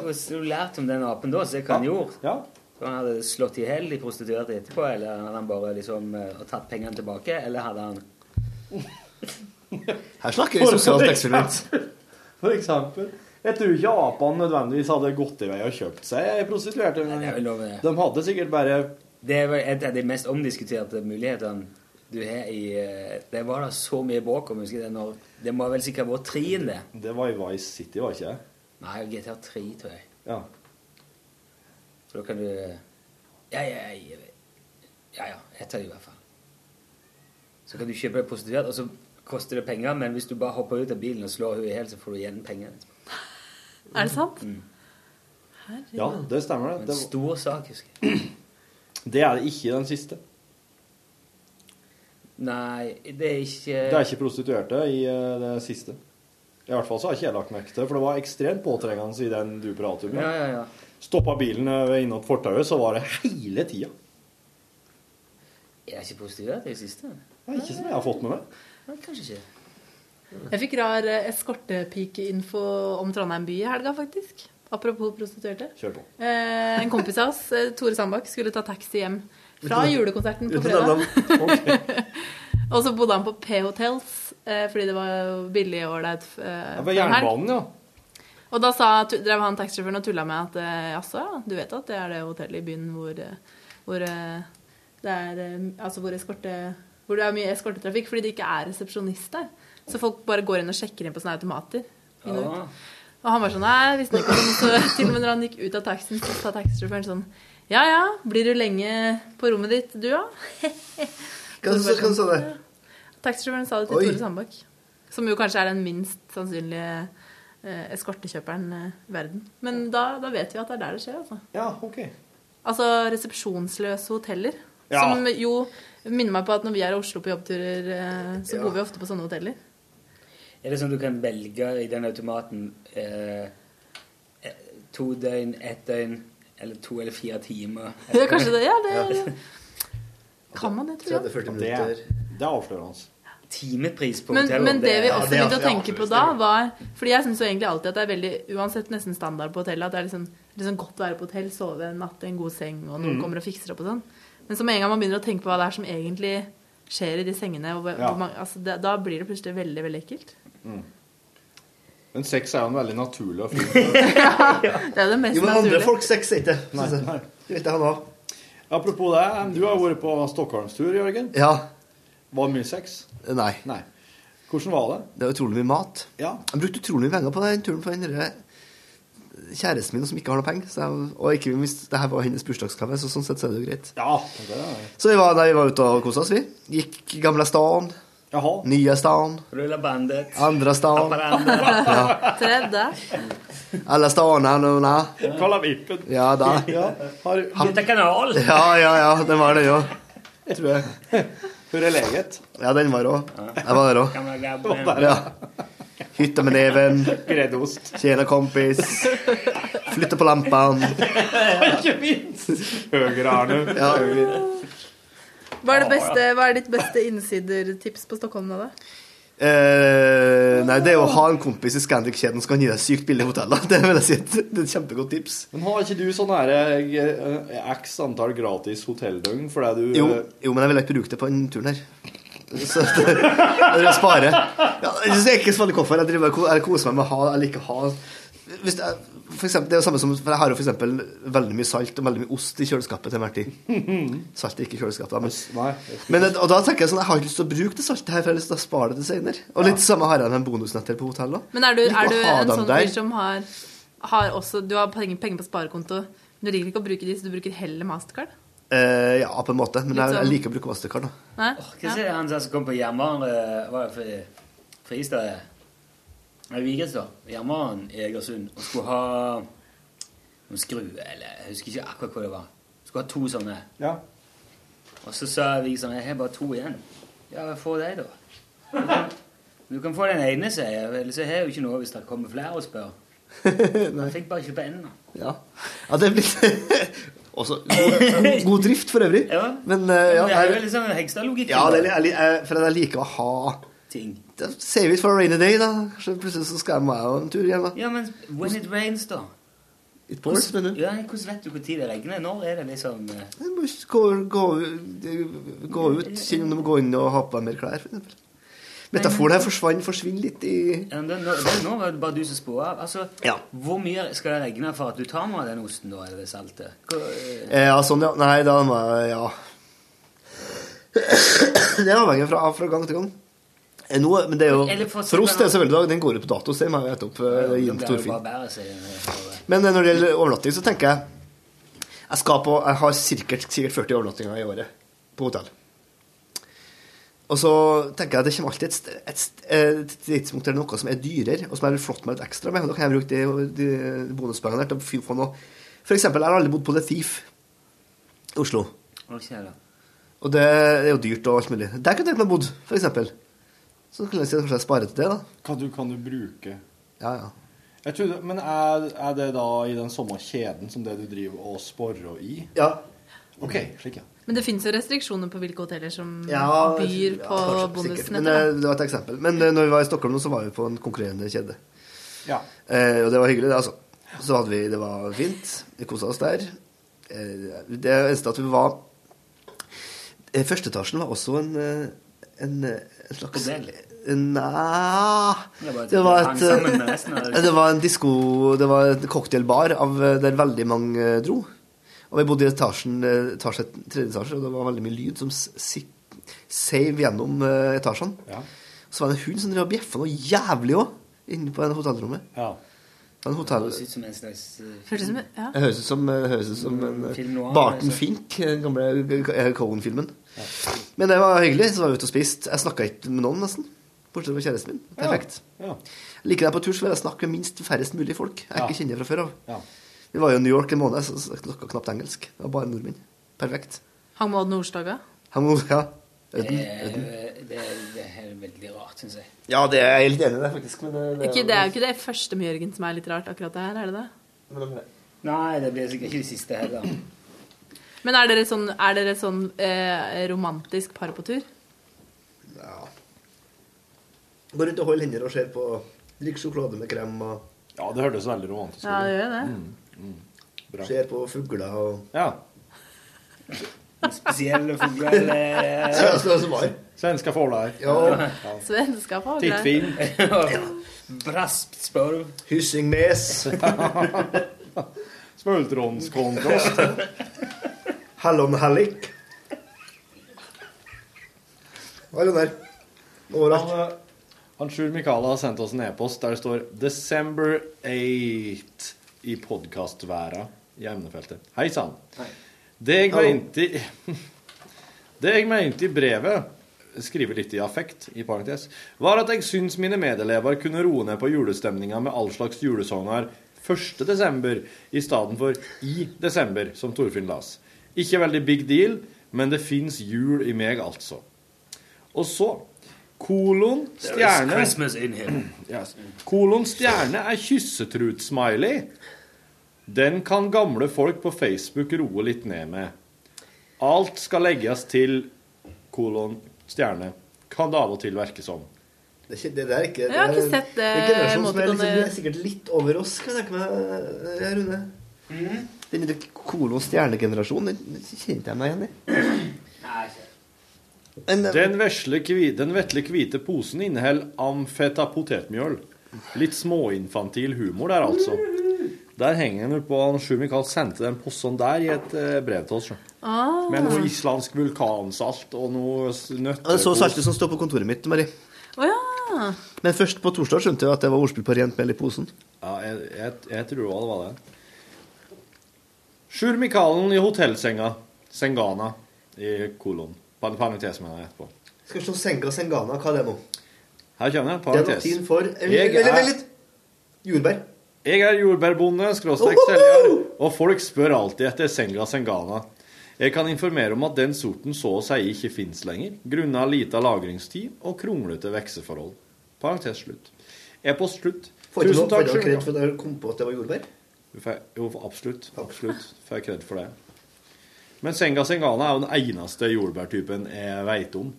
Hvis du lærte om den apen da, se hva han gjorde. Så han hadde slått i hjel de prostituerte etterpå, eller hadde han bare liksom eh, og tatt pengene tilbake, eller hadde han Her snakker vi sosialt eksperiment. For eksempel. Jeg tror ikke apene nødvendigvis hadde gått i vei og kjøpt seg ei prostituerte. De hadde sikkert bare Det er vel et av de mest omdiskuterte mulighetene du har i eh, Det var da så mye bråk om, husker jeg, det når Det må vel sikkert være trien, det. Det var i Vice City, var ikke det? Nei, GTA 3, tror jeg. Ja. Så da kan du eh, Ja, ja, ja. Ja, ja. Et av de, i hvert fall. Så kan du kjøpe deg prostituert, og så koster det penger, men hvis du bare hopper ut av bilen og slår henne i hjel, så får du igjen penger. Mm. Er det sant? Herregud. ja, det stemmer. En det. Det, stor sak, husker jeg. det er det ikke i den siste. Nei, det er ikke Det er ikke prostituerte i eh, det siste. I hvert fall så har ikke jeg lagt merke til det, for det var ekstremt påtrengende i den du prater om. Ja, ja, ja. Stoppa bilen eh, ved innåt fortauet, så var det hele tida. Jeg er ikke prostituert i det siste. Det er ikke som jeg har fått med meg. Nei, kanskje ikke. Jeg fikk rar eh, eskortepikeinfo om Trondheim by i helga, faktisk. Apropos prostituerte. Kjør på. Eh, en kompis av oss, eh, Tore Sandbakk, skulle ta taxi hjem fra Uten- julekonserten på uten fredag. og så bodde han på P-hotels, eh, fordi det var jo billig og ålreit. Eh, Det for var en helg. jernbanen, ja. Og da sa, tu- drev han taxisjåføren og tulla med at eh, jaså, ja, du vet at det er det hotellet i byen hvor, eh, hvor eh, det er eh, Altså hvor eskorte... Hvor det er mye eskortetrafikk fordi det ikke er resepsjonist der. Så folk bare går inn og sjekker inn på sånne automater. inn og ut. Ja. Og han var sånn Nei, visste ikke om Så til og med når han gikk ut av taxien, så sa taxisjåføren sånn Ja ja, blir du lenge på rommet ditt, du da? Hva sa- hva sa det? sånn, Taxisjåføren sa det til Oi. Tore Sandbakk. Som jo kanskje er den minst sannsynlige eh, eskortekjøperen eh, i verden. Men da, da vet vi at det er der det skjer, altså. Ja, ok. Altså resepsjonsløse hoteller. Ja. Som jo minner meg på at når vi er i Oslo på jobbturer, eh, så bor vi ofte på sånne hoteller. Er det sånn du kan velge i den automaten eh, eh, to døgn, ett døgn, eller to eller fire timer? Ja, kanskje det, ja, det- Kan man det, tror jeg. 30-40 Det er, det er avslørende. Timepris på Men, hotellet. men det vi også begynte å ja. tenke på da, var Fordi jeg syns jo egentlig alltid at det er veldig uansett nesten standard på hotellet, at det er liksom, liksom godt å være på hotell, sove en natt i en god seng, og noen Mhm. kommer og fikser opp og sånn. Men så med en gang man begynner å tenke på hva det er som egentlig skjer i de sengene, og hvor, Ja. hvor mange, altså, det, da blir det plutselig veldig, veldig ekkelt. Men sex er jo en veldig naturlig og fin Det er det mest Jo, men andre naturlige. folk sex er ikke Nei, synes jeg. nei. Det vet jeg han også. Apropos det, du har vært på Stockholmstur, Jørgen. Ja. Var det mye sex? Nei. Hvordan var det? Det var utrolig mye mat. Ja. Jeg brukte utrolig mye penger på den turen for den derre kjæresten min som ikke har noe penger. Så jeg, og ikke minst, det her var hennes bursdagsgave, så sånn sett så er det jo greit. Ja. Det er... Så vi var, nei, vi var ute og kosa oss, vi. Gikk gamle stan. Nye stan. Rulla bandet. Andre stan. Ja. Tredje. Alle stadene nå, nei. Kalla vippen. Ja da. Har Bytta kanal. Ja, ja, ja. Den var det jo. Tror jeg. Hvor er leget? Ja, den var rå. Jeg var der òg. Gamla Var gabben. der, Ja. Hytta med neven. Greddost. Tjena kompis. Flytte på lampene. Ikke minst! Høyre, Arne. Ja. Hva er, det beste, hva er ditt beste innsidertips på Stockholm nå, da? Eh, nei, det er å ha en kompis i Scandic-kjeden som kan gi deg sykt billige hoteller. Det vil jeg si. Det er et kjempegodt tips. Men har ikke du sånn her eh, x antall gratis hotelldøgn fordi du eh, Jo, jo, men jeg ville ikke bruke det på den turen her. Så det, det er å spare. Ja, jeg synes det er ikke så veldig hvorfor. Jeg, driver, og ko- jeg koser meg med å ha eller ikke ha Hvis jeg, for eksempel, Det er jo samme som for Jeg har jo for eksempel veldig mye salt og veldig mye ost i kjøleskapet til enhver tid. Salt er ikke i kjøleskapet. da, Nei. Men, men, og da tenker jeg sånn Jeg har ikke lyst til å bruke det saltet her, for jeg har lyst til å spare det til senere. Og litt samme har jeg med en bonusnetter på hotell også. Men er du, Liker å er du ha en dem sånn der. fyr som har, har også Du har penger, penger på sparekonto, men du liker ikke å bruke de, så du bruker heller mastercard? Eh, ja, på en måte. Men jeg, Litt jeg sånn- liker å bruke mastercard. da. Nei? Hva er det han sa som kom på jernbanen eh, Var det Fri- Fristad? Nei, Vigrestad. Jernbanen i Egersund. Og skulle ha noen skruer, eller jeg husker ikke akkurat hva det var. Skulle ha to sånne. Ja. Og så sa vi sånn Jeg har bare to igjen. Ja, få deg, da. Du kan- Du kan få den ene, sier jeg. Ellers har jeg jo ikke noe hvis det kommer flere og spør. Jeg fikk bare kjøpe en. da. Ja. ja, det er blitt Også god, god drift for øvrig. Men eh, ja, Men det er jo jeg- litt sånn Hegstad-logikk. ja det er, jeg, jeg, for jeg liker å ha Ting. Det- Save it for a rainy day, da. Så plutselig så skal jeg meg og en tur hjem. da. Ja, men when it rains, da? It pours, Hvordan- Ja, hvordan vet du hvor tid det regner? Når er det liksom eh, Jeg må ikke gå, gå, gå ut. Kjenn om du må gå inn og ha på deg mer klær, for eksempel. Metaforen her forsvant, forsvinner litt i Ja, men det, nå, det, nå var det bare du som spåa. Altså, Hvor mye skal det regne for at du tar med den osten, da, eller det saltet? Hva- Eh, Ja, sånn, ja. Nei, da må jeg Ja. Det avhenger fra, fra gang til gang. Eh, Nå, men det er jo Eller for- For oss det er selvfølgelig dag. Den går jo på dato, så det må jeg ete opp. eh, Det gir en Det er jo storfin. bare bæret, sier jeg. Men eh, når det gjelder overnatting, så tenker jeg Jeg skal på Jeg har sikkert, sikkert 40 overnattinger i året på hotell. Og så tenker jeg at det kommer alltid et, st- et, st- eh, et tidspunkt der det er noe som er dyrere, og som jeg vil flotte meg litt ekstra med. Og da kan jeg bruke de, de bonuspengene der til å fy- få noe For eksempel, jeg har aldri bodd på The Thief i Oslo. Ok, da. Og det er jo dyrt og alt mulig. Der kunne jeg tenkt meg å bodd, for eksempel. Så kunne jeg si at kanskje jeg sparer til det, da. Kan du, kan du bruke Ja, ja. Jeg trodde, Men er, er det da i den samme kjeden som det du driver og sporer i? Ja. OK, slik, ja. Men det fins jo restriksjoner på hvilke hoteller som Ja, byr ja, på kanskje, sikkert. bonusen. Men eh, etter det. det var et eksempel. Men eh, når vi var i Stockholm nå, så var vi på en konkurrerende kjede. Ja. Eh, og det var hyggelig, det, altså. Så hadde vi, det var fint. Vi kosa oss der. Eh, det eneste at vi var eh, Første etasjen var også en, eh, en, eh, en slags Bordell. Nei Det var et- Det var hang et sammen med resten av- eh, Det var en disko Det var en cocktailbar av, eh, der veldig mange eh, dro. Og vi bodde i etasjen, eh, etasje, tredje etasje, og det var veldig mye lyd som sik- seiv gjennom eh, etasjene. Så var det en hund som drev og bjeffa noe jævlig òg, inne på en hotellrommet. Det var en hotell... Høres ut som en slags eh, Hørtes ut som- ja. Det høres ut som, det høres ut som en, Mm, film noir, Barton altså. Fink, den gamle eh, Cohen-filmen. Men det var hyggelig, så var vi ute og spiste. Jeg snakka ikke med noen, nesten. Bortsett fra kjæresten min. Perfekt. Ja. Liker deg på tur, så vil jeg snakke med minst færrest mulig folk jeg Ja. ikke kjenner fra før av. Ja. Vi var jo i New York en måned, så jeg snakka knapt engelsk. Det var bare nordmenn. Perfekt. Hang med Odd Nordstoga. Han må, ja. det, Øden. er- Øden. det, er- det er veldig rart, syns jeg. Ja, det er jeg helt enig i, det, faktisk. Men det, Ikke, det er jo ikke det første med Jørgen som er litt rart, akkurat det her, er det det? Nei, det blir sikkert ikke det siste heller. Men er dere sånn, er dere sånn eh, romantisk par på tur? Går rundt og holder hender og ser på. Drikker sjokolade med krem og Ja, det hørtes veldig romantisk Ja, det gjør det. Bra. Ser på fugler og Ja. Spesielle eh, Svenska fåglar. Ja. Svenska folk. det. Tittfilm. Braspspørv. Hyssingmes. Smultronskontrast. Hallon Hallik. Hva er det der? Overalt. Han, eh, han Sjur Mikael har sendt oss en e-post der det står 'December 8' i podkastværa i emnefeltet. Hei sann. Det jeg Hallo. mente i Det jeg mente i brevet, skriver litt i affekt, i parentes, var at jeg syns mine medelever kunne roe ned på julestemninga med all slags julesanger 1. desember i stedet for i desember, som Torfinn las. Ikke veldig big deal, men det fins jul i meg, altså. Og så Kolon There is stjerne Christmas in here. Yes. Kolon stjerne er kyssetrut-smiley. Den kan gamle folk på Facebook roe litt ned med. Alt skal legges til kolon stjerne. Kan det av og til virke som. Det, er ikke- det der er ikke Jeg har det er- ikke sett det er en generasjon som er, liksom, emotikonet. de er sikkert litt over oss, kan jeg tenke meg, eh, Rune. Den lille kolon stjernegenerasjonen, den den kjente jeg meg igjen i. Den, vesle, kvi- den vetle hvite posen inneholder amfeta potetmjøl. Litt småinfantil humor der, altså. Der henger den på han Sjur Mikael sendte den posten der i et eh, brev til oss. sjø. Ah. Med noe islandsk vulkansalt og noe s- nøtter Ja, det så saltet som står på kontoret mitt, Marie. Å ja. Men først på torsdag skjønte jeg at det var ordspill på rent mel i posen. Ja, jeg, jeg, jeg tror også det var det. Sjur Mikalen i hotellsenga. Sengana i kolon. Pan- Parentes mener jeg etterpå. Skal vi se Senga Sengana, hva er det nå? Her kommer jeg. Det er Parentes. latin for Jeg Eller, eller er- litt jordbær. Jeg er jordbærbonde, skråstrek selger, og folk spør alltid etter Senga Sengana. Jeg kan informere om at den sorten så å si ikke fins lenger, grunna lita lagringstid og kronglete vekseforhold. Parentes slutt. E-post slutt. Får ikke Tusen noe får takk, ikke noe Sjur kredd Mikael. for at jeg kom på at det var jordbær. Du får- Jo, absolutt. Absolutt. Får jeg kred for det. Men senga sengana er jo den eneste jordbærtypen jeg veit om.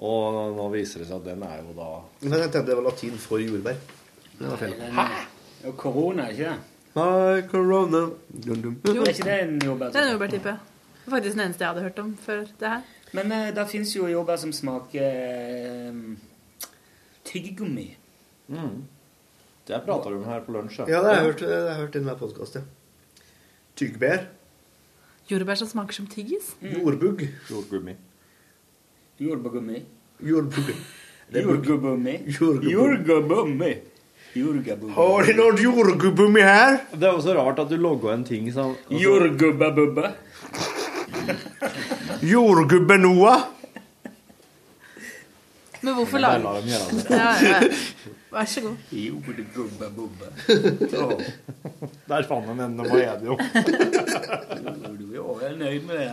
Og nå viser det seg at den er jo da Men jeg tenkte det var latin for jordbær. Det var feil. Hæ? Og eh, korona, ikke det? My corona dum, dum. Jo. Er ikke det en jordbær? Det er en jordbærtype. Det er Faktisk den eneste jeg hadde hørt om før det her. Men eh, det fins jo jordbær som smaker eh, tyggegummi. Mm. Det prata du om her på lunsj. Ja, det har jeg hørt, det har jeg hørt i denne podkasten. Tyggbær. Jordbær som smaker som tyggis? Jordbugg. Jordgummi. Jordbærgummi. Jordbugg. Jordgummi. Jordgummi. Jordgummi. Har de noe jordgubbummi her? Det er også rart at du logga en ting som Jordgubbabubba. Jordgubbe Noah. Men hvorfor Ja, der lager la de gjøre det. Ja, ja. Vær så god. Jordgubbabubba. Der fant han en, det var jeg jo. Jeg er nøyd med det.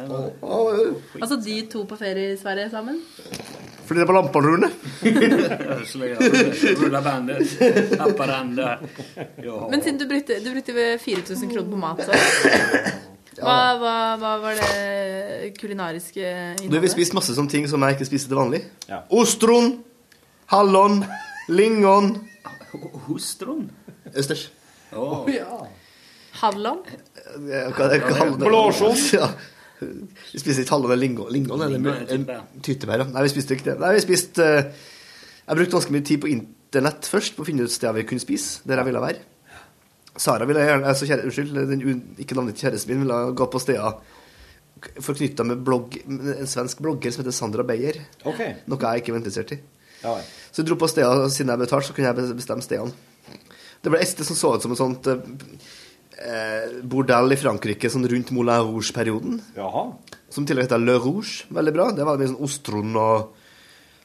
Altså de to på ferie i Sverige sammen? Fordi det er på lampene, Rune. Rulla bandet. Apparanda. Ja. Men siden du brukte, du brukte vel 4000 kroner på mat, så hva, hva, hva var det kulinariske Du, vi innholdet? spiste masse sånne ting som jeg ikke spiser til vanlig. Ja. Ostron, hallon, lingon Ostron? Østers. Oh. Hallon? Ja, hva- hva- hallon- Blåskjold. Ja. Vi spiste ikke hallon eller lingon. Lingon er det Lingon er en tyttebær. ja. Nei, vi spiste ikke det. Nei, vi spiste eh, Jeg brukte ganske mye tid på internett først på å finne ut steder vi kunne spise, der jeg ville være. Sara ville gjerne altså, kjære, Unnskyld, den un- ikke navnet til kjæresten min ville gå på steder forknytta med blogg, med en svensk blogger som heter Sandra Beyer. Ok. Noe jeg ikke var interessert i. Ja vel. Så jeg dro på steder, og siden jeg betalte, så kunne jeg bestemme stedene. Det ble et sted som så ut som et sånt eh, bordell i Frankrike, sånn rundt Moulin Rouge-perioden. Jaha. Som i tillegg heter Le Rouge, veldig bra. Det var mye sånn ostron og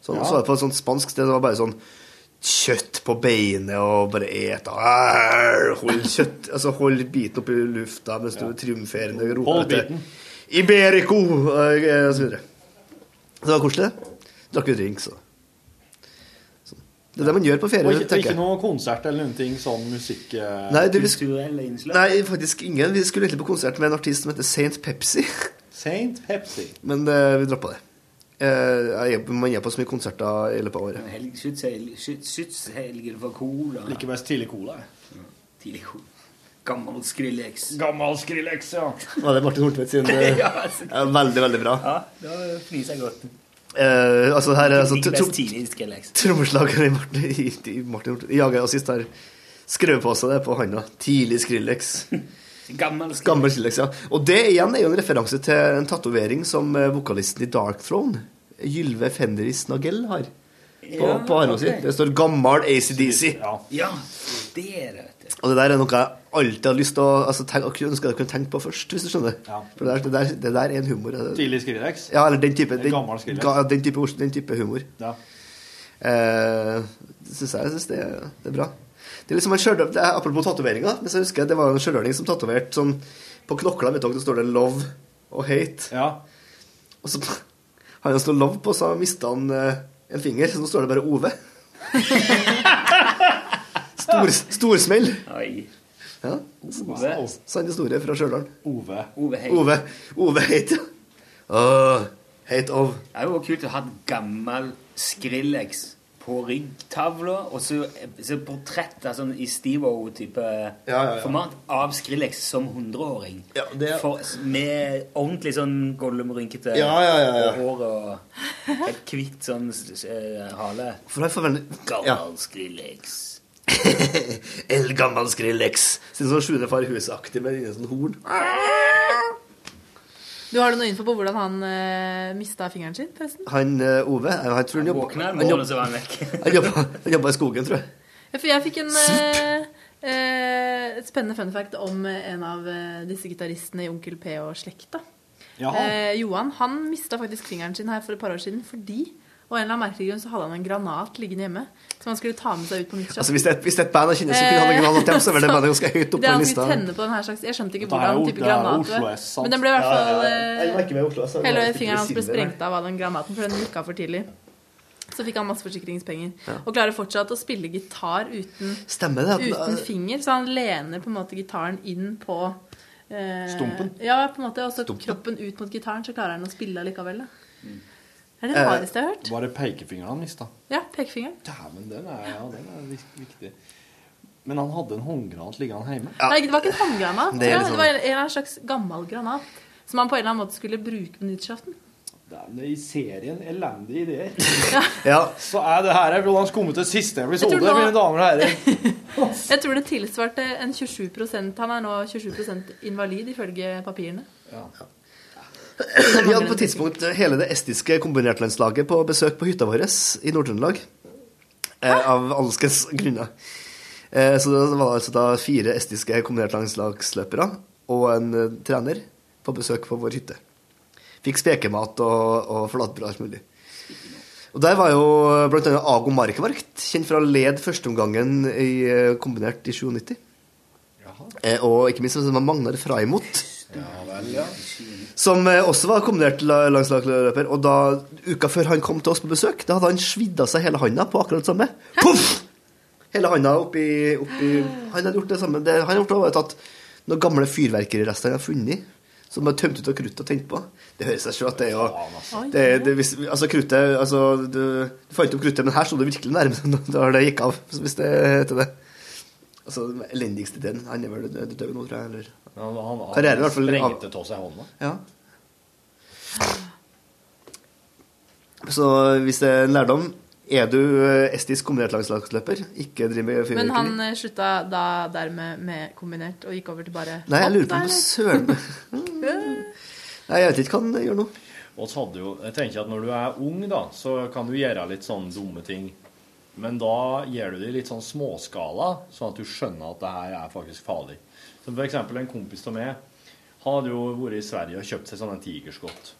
sånn. Ja. Så var det på et sånt spansk sted, det var bare sånn kjøtt på beinet og bare et Arr, Hold kjøtt, altså hold biten opp i lufta mens du triumferende roper Hold etter biten. Iberico! Og, eh, og så videre. Så det var koselig. Drakk jo drinks og sånn. Det er det man gjør på Og ferie, ikke, tenker ikke jeg. noe konsert eller noen ting sånn musikk... eh, Nei, det vi sk- Kulturelle innslag. Nei, faktisk ingen. Vi skulle egentlig på konsert med en artist som heter Saint Pepsi, Saint Pepsi. men eh, vi droppa det. Eh, jeg, man er på så mye konserter i løpet av året. Helg- skytshelg- skyt- Skytshelgen for cola. Liker best tidlig cola. jeg. Tidlig cola. Gammel Skrillex. Gammel Skrillex, ja. Ja, det er Martin Hortvedt sin eh, Ja, altså. ja, Veldig, veldig bra. Ja, da fniser jeg godt. Eh, altså, her er altså, Liker best tidlig Skrillex. Trommeslageren i Martin, i, i Martin Hortvedt Jager og sist har skrevet på seg det på handa. Tidlig Skrillex. Gammel Skrillex. Gammel Skrillex, ja. Og det igjen er jo en referanse til en tatovering som eh, vokalisten i Dark Throne, Gylve Fenris Nagell, har på, Ja, på armen sin. ok. Det står 'Gammal ACDC'. Ja. Ja, det er det, vet du. Og det der er noe jeg alltid har lyst til å altså, tenke, og kunne- ønske jeg kunne tenkt på først, hvis du skjønner. Ja. For det der, det, der, det der er en humor. Tidlig Skrillex. Ja, eller den type, En den, gammel Skrillex. ga- den type, ord- den type humor. Ja. Eh, synes jeg synes det, er- det er bra. Det er liksom en stjørdøl- det er Apropos tatoveringer, men så husker jeg det var en stjørdøling som tatoverte sånn På knokla vet dere, det står det 'love' og 'hate'. ja. Og så har han stått 'love' på, så mista han eh, en finger, så nå står det bare 'Ove'. Stor, storsmell. Oi. Ja. Ove. Sann historie fra Stjørdal. Ove. Ove Hei. Ove. Ove het Åh, Heit Ov. Det hadde vært kult å ha et gammel Skrillex på riggtavla, og så, så portrett av sånn i Stivo-type ja, ja. format av Skrillex som 100-åring. Ja, det er- For- Med ordentlig sånn gollumrynkete Ja, ja, ja, ja. hår og helt hvitt sånn eh, hale. For han får veldig ja. Gammel Skrillex. El gammel Skrillex. Sin sånn sjuende far husaktig med en sånn horn. Du har du noe info på hvordan han uh, mista fingeren sin, forresten? Han eh, Ove jeg, jeg tror han jobba Våkna en han morgen, jobb- og så var han vekk. han jobba- han jobba i skogen, tror jeg. Ja, for jeg fikk en eh, eh, et spennende fun fact om eh, en av eh, disse gitaristene i Onkel P og slekta. Jaha. Eh, Johan han mista faktisk fingeren sin her for et par år siden fordi og en eller annen merkelig grunn så hadde han en granat liggende hjemme som han skulle ta med seg ut på nytt. Altså Hvis det er et, hvis det er et band jeg kjenner, så kunne han ikke ha noe til, så er det bandet ganske høyt oppe Det på er han lista. skulle tenne på den her slags Jeg skjønte ikke Det er hvordan jo- type det er jo granat det Oslo var. S, sant? Men den ble i hvert Ja, fall ja, ja. Jeg eh, merker meg Oslo, altså. Hele Jeg fingeren hans ble sitter med sprengt av av den granaten, for den gikk av for tidlig. Så fikk han masse forsikringspenger. Ja. Og klarer fortsatt å spille gitar uten, Stemmer det? at- uten finger, så han lener på en måte gitaren inn på eh, Stumpen? Ja, på en måte. Og så Stumpen. kroppen ut mot gitaren, så klarer han å spille allikevel. Da. Det er Eh, det rareste jeg har hørt. Var det pekefingeren han mista? Ja, pekefingeren. Dæven, den er, ja, den er vik- viktig. Men han hadde en håndgranat liggende hjemme. Ja. Nei, det var ikke en håndgranat. Det Det, er ja, liksom- det var en eller annen slags gammel granat som han på en eller annen måte skulle bruke på nyttårsaften. Dæven, I serien elendige ideer. Ja. Så er det her er hvordan skummet til siste episode, Jeg tror nå- mine damer og herrer. eh. Jeg tror det tilsvarte en 27 Han er nå 27 invalid, ifølge papirene. Vi hadde på et tidspunkt hele det estiske kombinertlandslaget på besøk på hytta vår i Nord-Trøndelag. Eh, av alskens grunner. Eh, så det var altså da fire estiske kombinertlandslagsløpere og en eh, trener på besøk på vår hytte. Fikk spekemat og, og flatbrød og alt mulig. Og der var jo blant annet Ago Markvart, kjent fra å lede førsteomgangen i eh, kombinert i 97. Eh, og ikke minst var Magnar Fraimot. Som eh, også var kombinert la- landslagsløper. Og da uka før han kom til oss på besøk, da hadde han svidd av seg hele handa på akkurat det samme. Poff! Hele handa oppi, oppi Han hadde gjort det samme. Det, han hadde gjort det, var tatt noen gamle fyrverkerirester han hadde funnet, som han tømte ut av kruttet og tent på. Det høres seg selv at det er jo det, er- det, hvis, Altså, kruttet altså, du, du fant opp kruttet, men her sto det virkelig nærme da det gikk av, hvis det heter det. Altså, den elendigste ideen. Han er vel død død nå, tror jeg. Eller. Han, han, han Karriere i hvert fall av- sprengte av seg hånda. Ja. Så hvis det er en lærdom Er du eh, estisk kombinert landslagsløper, ikke driv med Men fyrverkeri han eh, slutta da dermed med kombinert og gikk over til bare Nei, jeg lurer på Nei, om nei. søren Nei, jeg vet ikke hva han gjør nå. Og så hadde jo, jeg tenker at Når du er ung, da, så kan du gjøre litt sånne dumme ting. Men da gjør du det i litt sånn småskala, sånn at du skjønner at det her er faktisk farlig. Som for eksempel en kompis av meg. Han hadde jo vært i Sverige og kjøpt seg sånne tigerskott.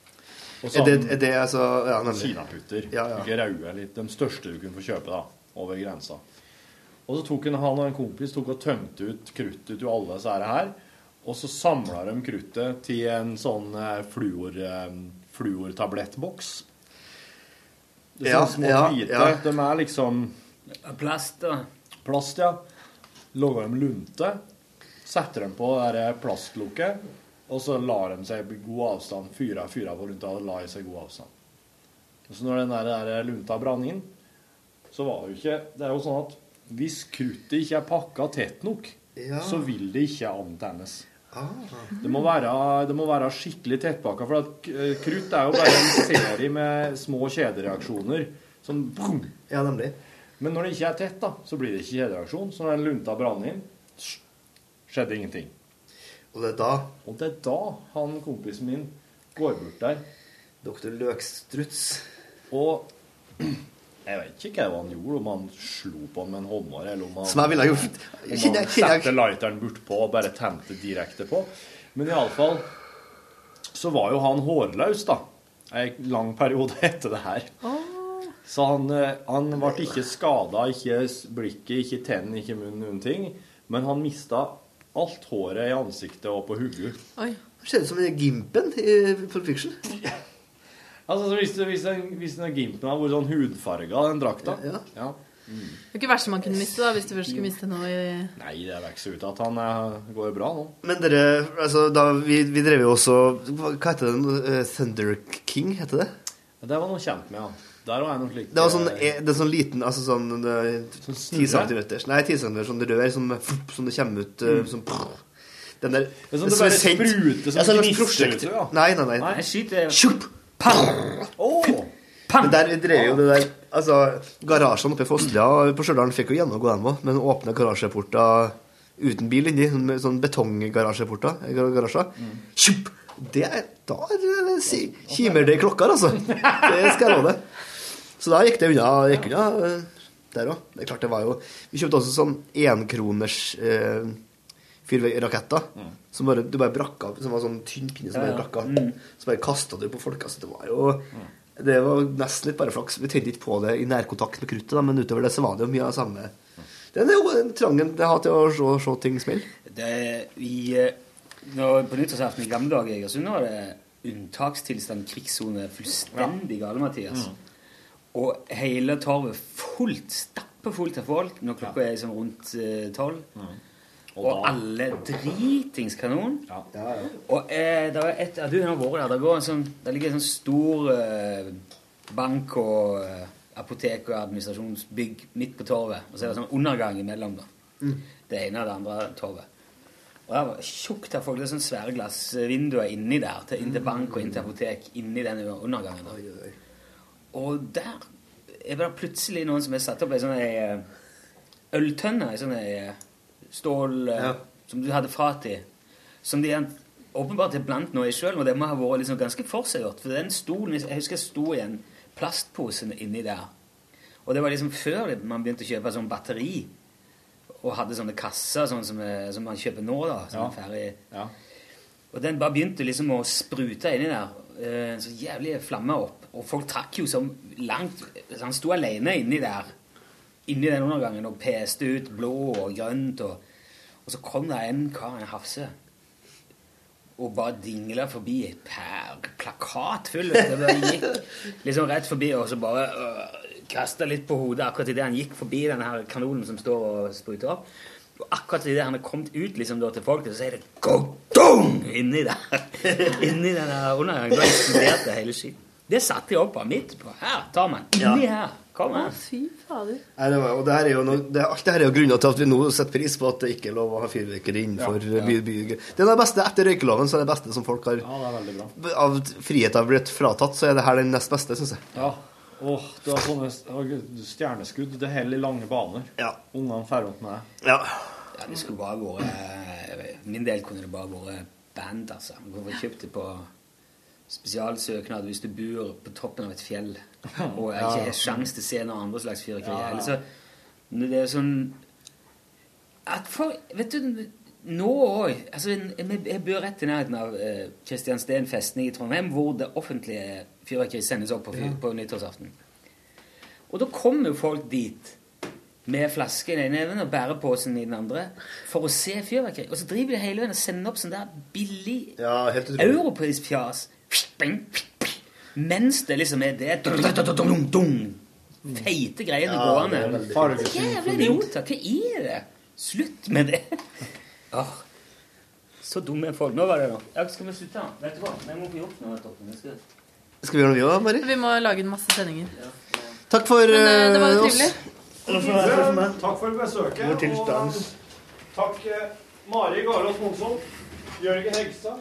Og Er det- er det altså- ja, nemlig. Kinaputter. Ja, ja. Ikke røde, litt de største du kunne få kjøpe da, over grensa. Og så tok han, han og en kompis tok og tømte ut kruttet til alle disse her. Og så samla de kruttet til en sånn eh, fluor, eh, fluortablettboks. Det er Ja, sånne små ja, hvite. ja. De er liksom Plast, da. plast, ja. Lager dem lunte. Setter dem på det der plastlokket. Og så lar de seg i god avstand. Fyra fyra på lunta og lar seg i god avstand. Og så når den der, der lunta brann inn, så var det jo ikke Det er jo sånn at hvis kruttet ikke er pakka tett nok, Ja. så vil det ikke antennes. Det må Ah. være, det må være skikkelig tettpakka, for at eh, krutt er jo bare en serie med små kjedereaksjoner. Som boom. Ja, nemlig. Men når det ikke er tett, da, så blir det ikke kjedereaksjon. Så når den lunta brann inn, sh- skjedde ingenting. Og det er da Og det er da han kompisen min går bort der. Doktor Løkstruts. Og jeg vet ikke hva han gjorde, om han slo på han med en håndvar, eller om han Som jeg ville ha gjort. Om Kjenner jeg- han kjenner jeg- satte lighteren bortpå og bare tente direkte på. Men iallfall så var jo han hårløs, da. En lang periode etter det her. Så han, eh, han ble ikke skada, ikke s- blikket, ikke tennene, ikke munnen, noen ting. Men han mista alt håret i ansiktet og på hodet. Oi. Det skjedde som i Gimpen i Pulp Fiction. Altså, så hvis, hvis, den, hvis den gimpen hadde vært sånn hudfarga, den drakta ja, Mm. Det er ikke det verste man kunne miste da, hvis du først skulle miste noe i Nei, det vokser ut at han eh, går bra nå. Men dere, altså, da, vi, vi drev jo også Hva hva heter den? Eh, Thunder King, heter det? Det var noe kjent med, ja. Der var jeg noe slikt. Det var sånn, eh, det er sånn liten altså sånn, eh, 10 cm snurre? Nei, 10 cm sånn rør som, som det kommer ut eh, Mm. sånn, Den der Det er sånn det bare spruter som ja, sånn gnister prosjekt. ut, ja. Nei, nei, nei. Nei, Sjup! Pang! Men der vi drev jo det der Altså, garasjene oppe i Fosslia på Stjørdal fikk jo gjennomgå dem òg, men åpna garasjeporter uten bil inni, sånn med sånn betonggarasjeporter. eh, gar- Garasjer. Sjup! Det er Da eh, si- kimer det i klokka, altså. Det skal jeg love deg. Så da gikk det unna. Gikk unna eh, der òg. Det er klart det var jo Vi kjøpte også sånn enkroners eh, fyrverkeraketter. Mm. Som bare, du bare brakk av. Som var sånn tynn pinne som Ja, bare ja. brakk av. Mm. Så bare kasta du på folk. Altså, det var jo Det var nesten litt bare flaks. Vi tente ikke på det i nærkontakt med kruttet, da, men utover det så var det jo mye av det samme. Mm. Den er jo den trangen jeg har til å se, se ting smelle. Det, i, eh, når, på nyttårsaften i gamle dager i Egersund var det unntakstilstand, krigssone, fullstendig gale, Mm. Mathias. Og hele torvet fullt, stappfullt av folk når klokka er liksom rundt tolv. Og, da- alle dritings kanon. Ja, ja. Og eh, der er et, ja, du har vært der. Der, går en sånn, der ligger en sånn stor eh, bank og eh, apotek og administrasjonsbygg midt på torvet. Og så er det sånn undergang imellom, da. Det ene og det andre torvet. Og Og det var tjukt av folk. Det er sånne svære glassvinduer inni der. Til, inn til bank og inn til apotek. Inni den undergangen. da. Og der er det plutselig noen som har satt opp ei sånn ei, eh, øltønne. Ei sånn ei, eh, stål eh, som du hadde fat i. Som de er åpenbart er blant nå i sjøl, og det må ha vært liksom ganske forseggjort. For den stolen, jeg husker jeg sto i en plastpose inni der. Og det var liksom før man begynte å kjøpe sånn batteri. Og hadde sånne kasser sånn som, eh, som man kjøper nå, da. Som Ja. er ferdig. Og den bare begynte liksom å sprute inni der. eh, Så jævlige flammer opp. Og folk trakk jo som langt så Han sto alene inni der. Inni den undergangen og peste ut blå og grønt. Og, og så kom det en kar, en hafse, og bare dingla forbi. Per, plakat full. vet du. Det bare gikk liksom rett forbi, og så bare kasta litt på hodet akkurat idet han gikk forbi den her kanonen som står og spruter opp. Og akkurat idet han er kommet ut liksom da til folket, så er det Dung! Inni der. Inni den der undergangen. Da eksploderte hele skiten. Det satte jeg opp av midt på. Her, ta meg. Inni her. Kom her. Fy fader. Nei, det var, og det her er jo noe, det, alt det her er jo grunner til at vi nå setter pris på at det ikke er lov å ha fyrverkeri innenfor eh, Ja, ja. by, by. Det er det beste etter røykeloven, så er det beste som folk har Ja, det er veldig bra. Av frihet har blitt fratatt, så er det her den nest beste, syns jeg. Ja. Åh, du har sånne å, Gud, stjerneskudd. Det heller i lange baner. Ja. Ungene ferdig med det. Ja. ja, det skulle bare vært Min del kunne det bare vært band, altså. Du kunne fått kjøpt det på spesialsøknad hvis du bor på toppen av et fjell og ikke har sjans til å se noe andre slags fyrverkeri. Ja, ja. Eller så men Det er sånn at for, Vet du nå òg altså, jeg- Jeg bor rett i nærheten av eh, Kristiansten festning i Trondheim, hvor det offentlige fyrverkeri sendes opp på, fyr, Ja. på nyttårsaften. Og da kommer jo folk dit med flasken i den ene neven og bæreposen i den andre for å se fyrverkeri. Og så driver de hele veien og sender opp sånn der billig Ja, helt utrolig. europeisk fjas mens det liksom er det dum-dum-dum-dum-dum, feite greiene Ja, det er gående. veldig Hva fint. jævla idioter? Hva er det? Slutt med det. Åh, Ah, så dumme folk. Nå var det nå. Ja, skal vi slutte? da? Vet du hva? Vi må få gjort noe. Toppen. Vi skal- Skal vi gjøre noe vi òg, Mari? Vi må lage en masse sendinger. Takk for Men eh, det var jo eh, trivelig. Takk for besøket. Vår tilstand. og Takk eh, Mari Garås Monsson, Jørgen Hegstad,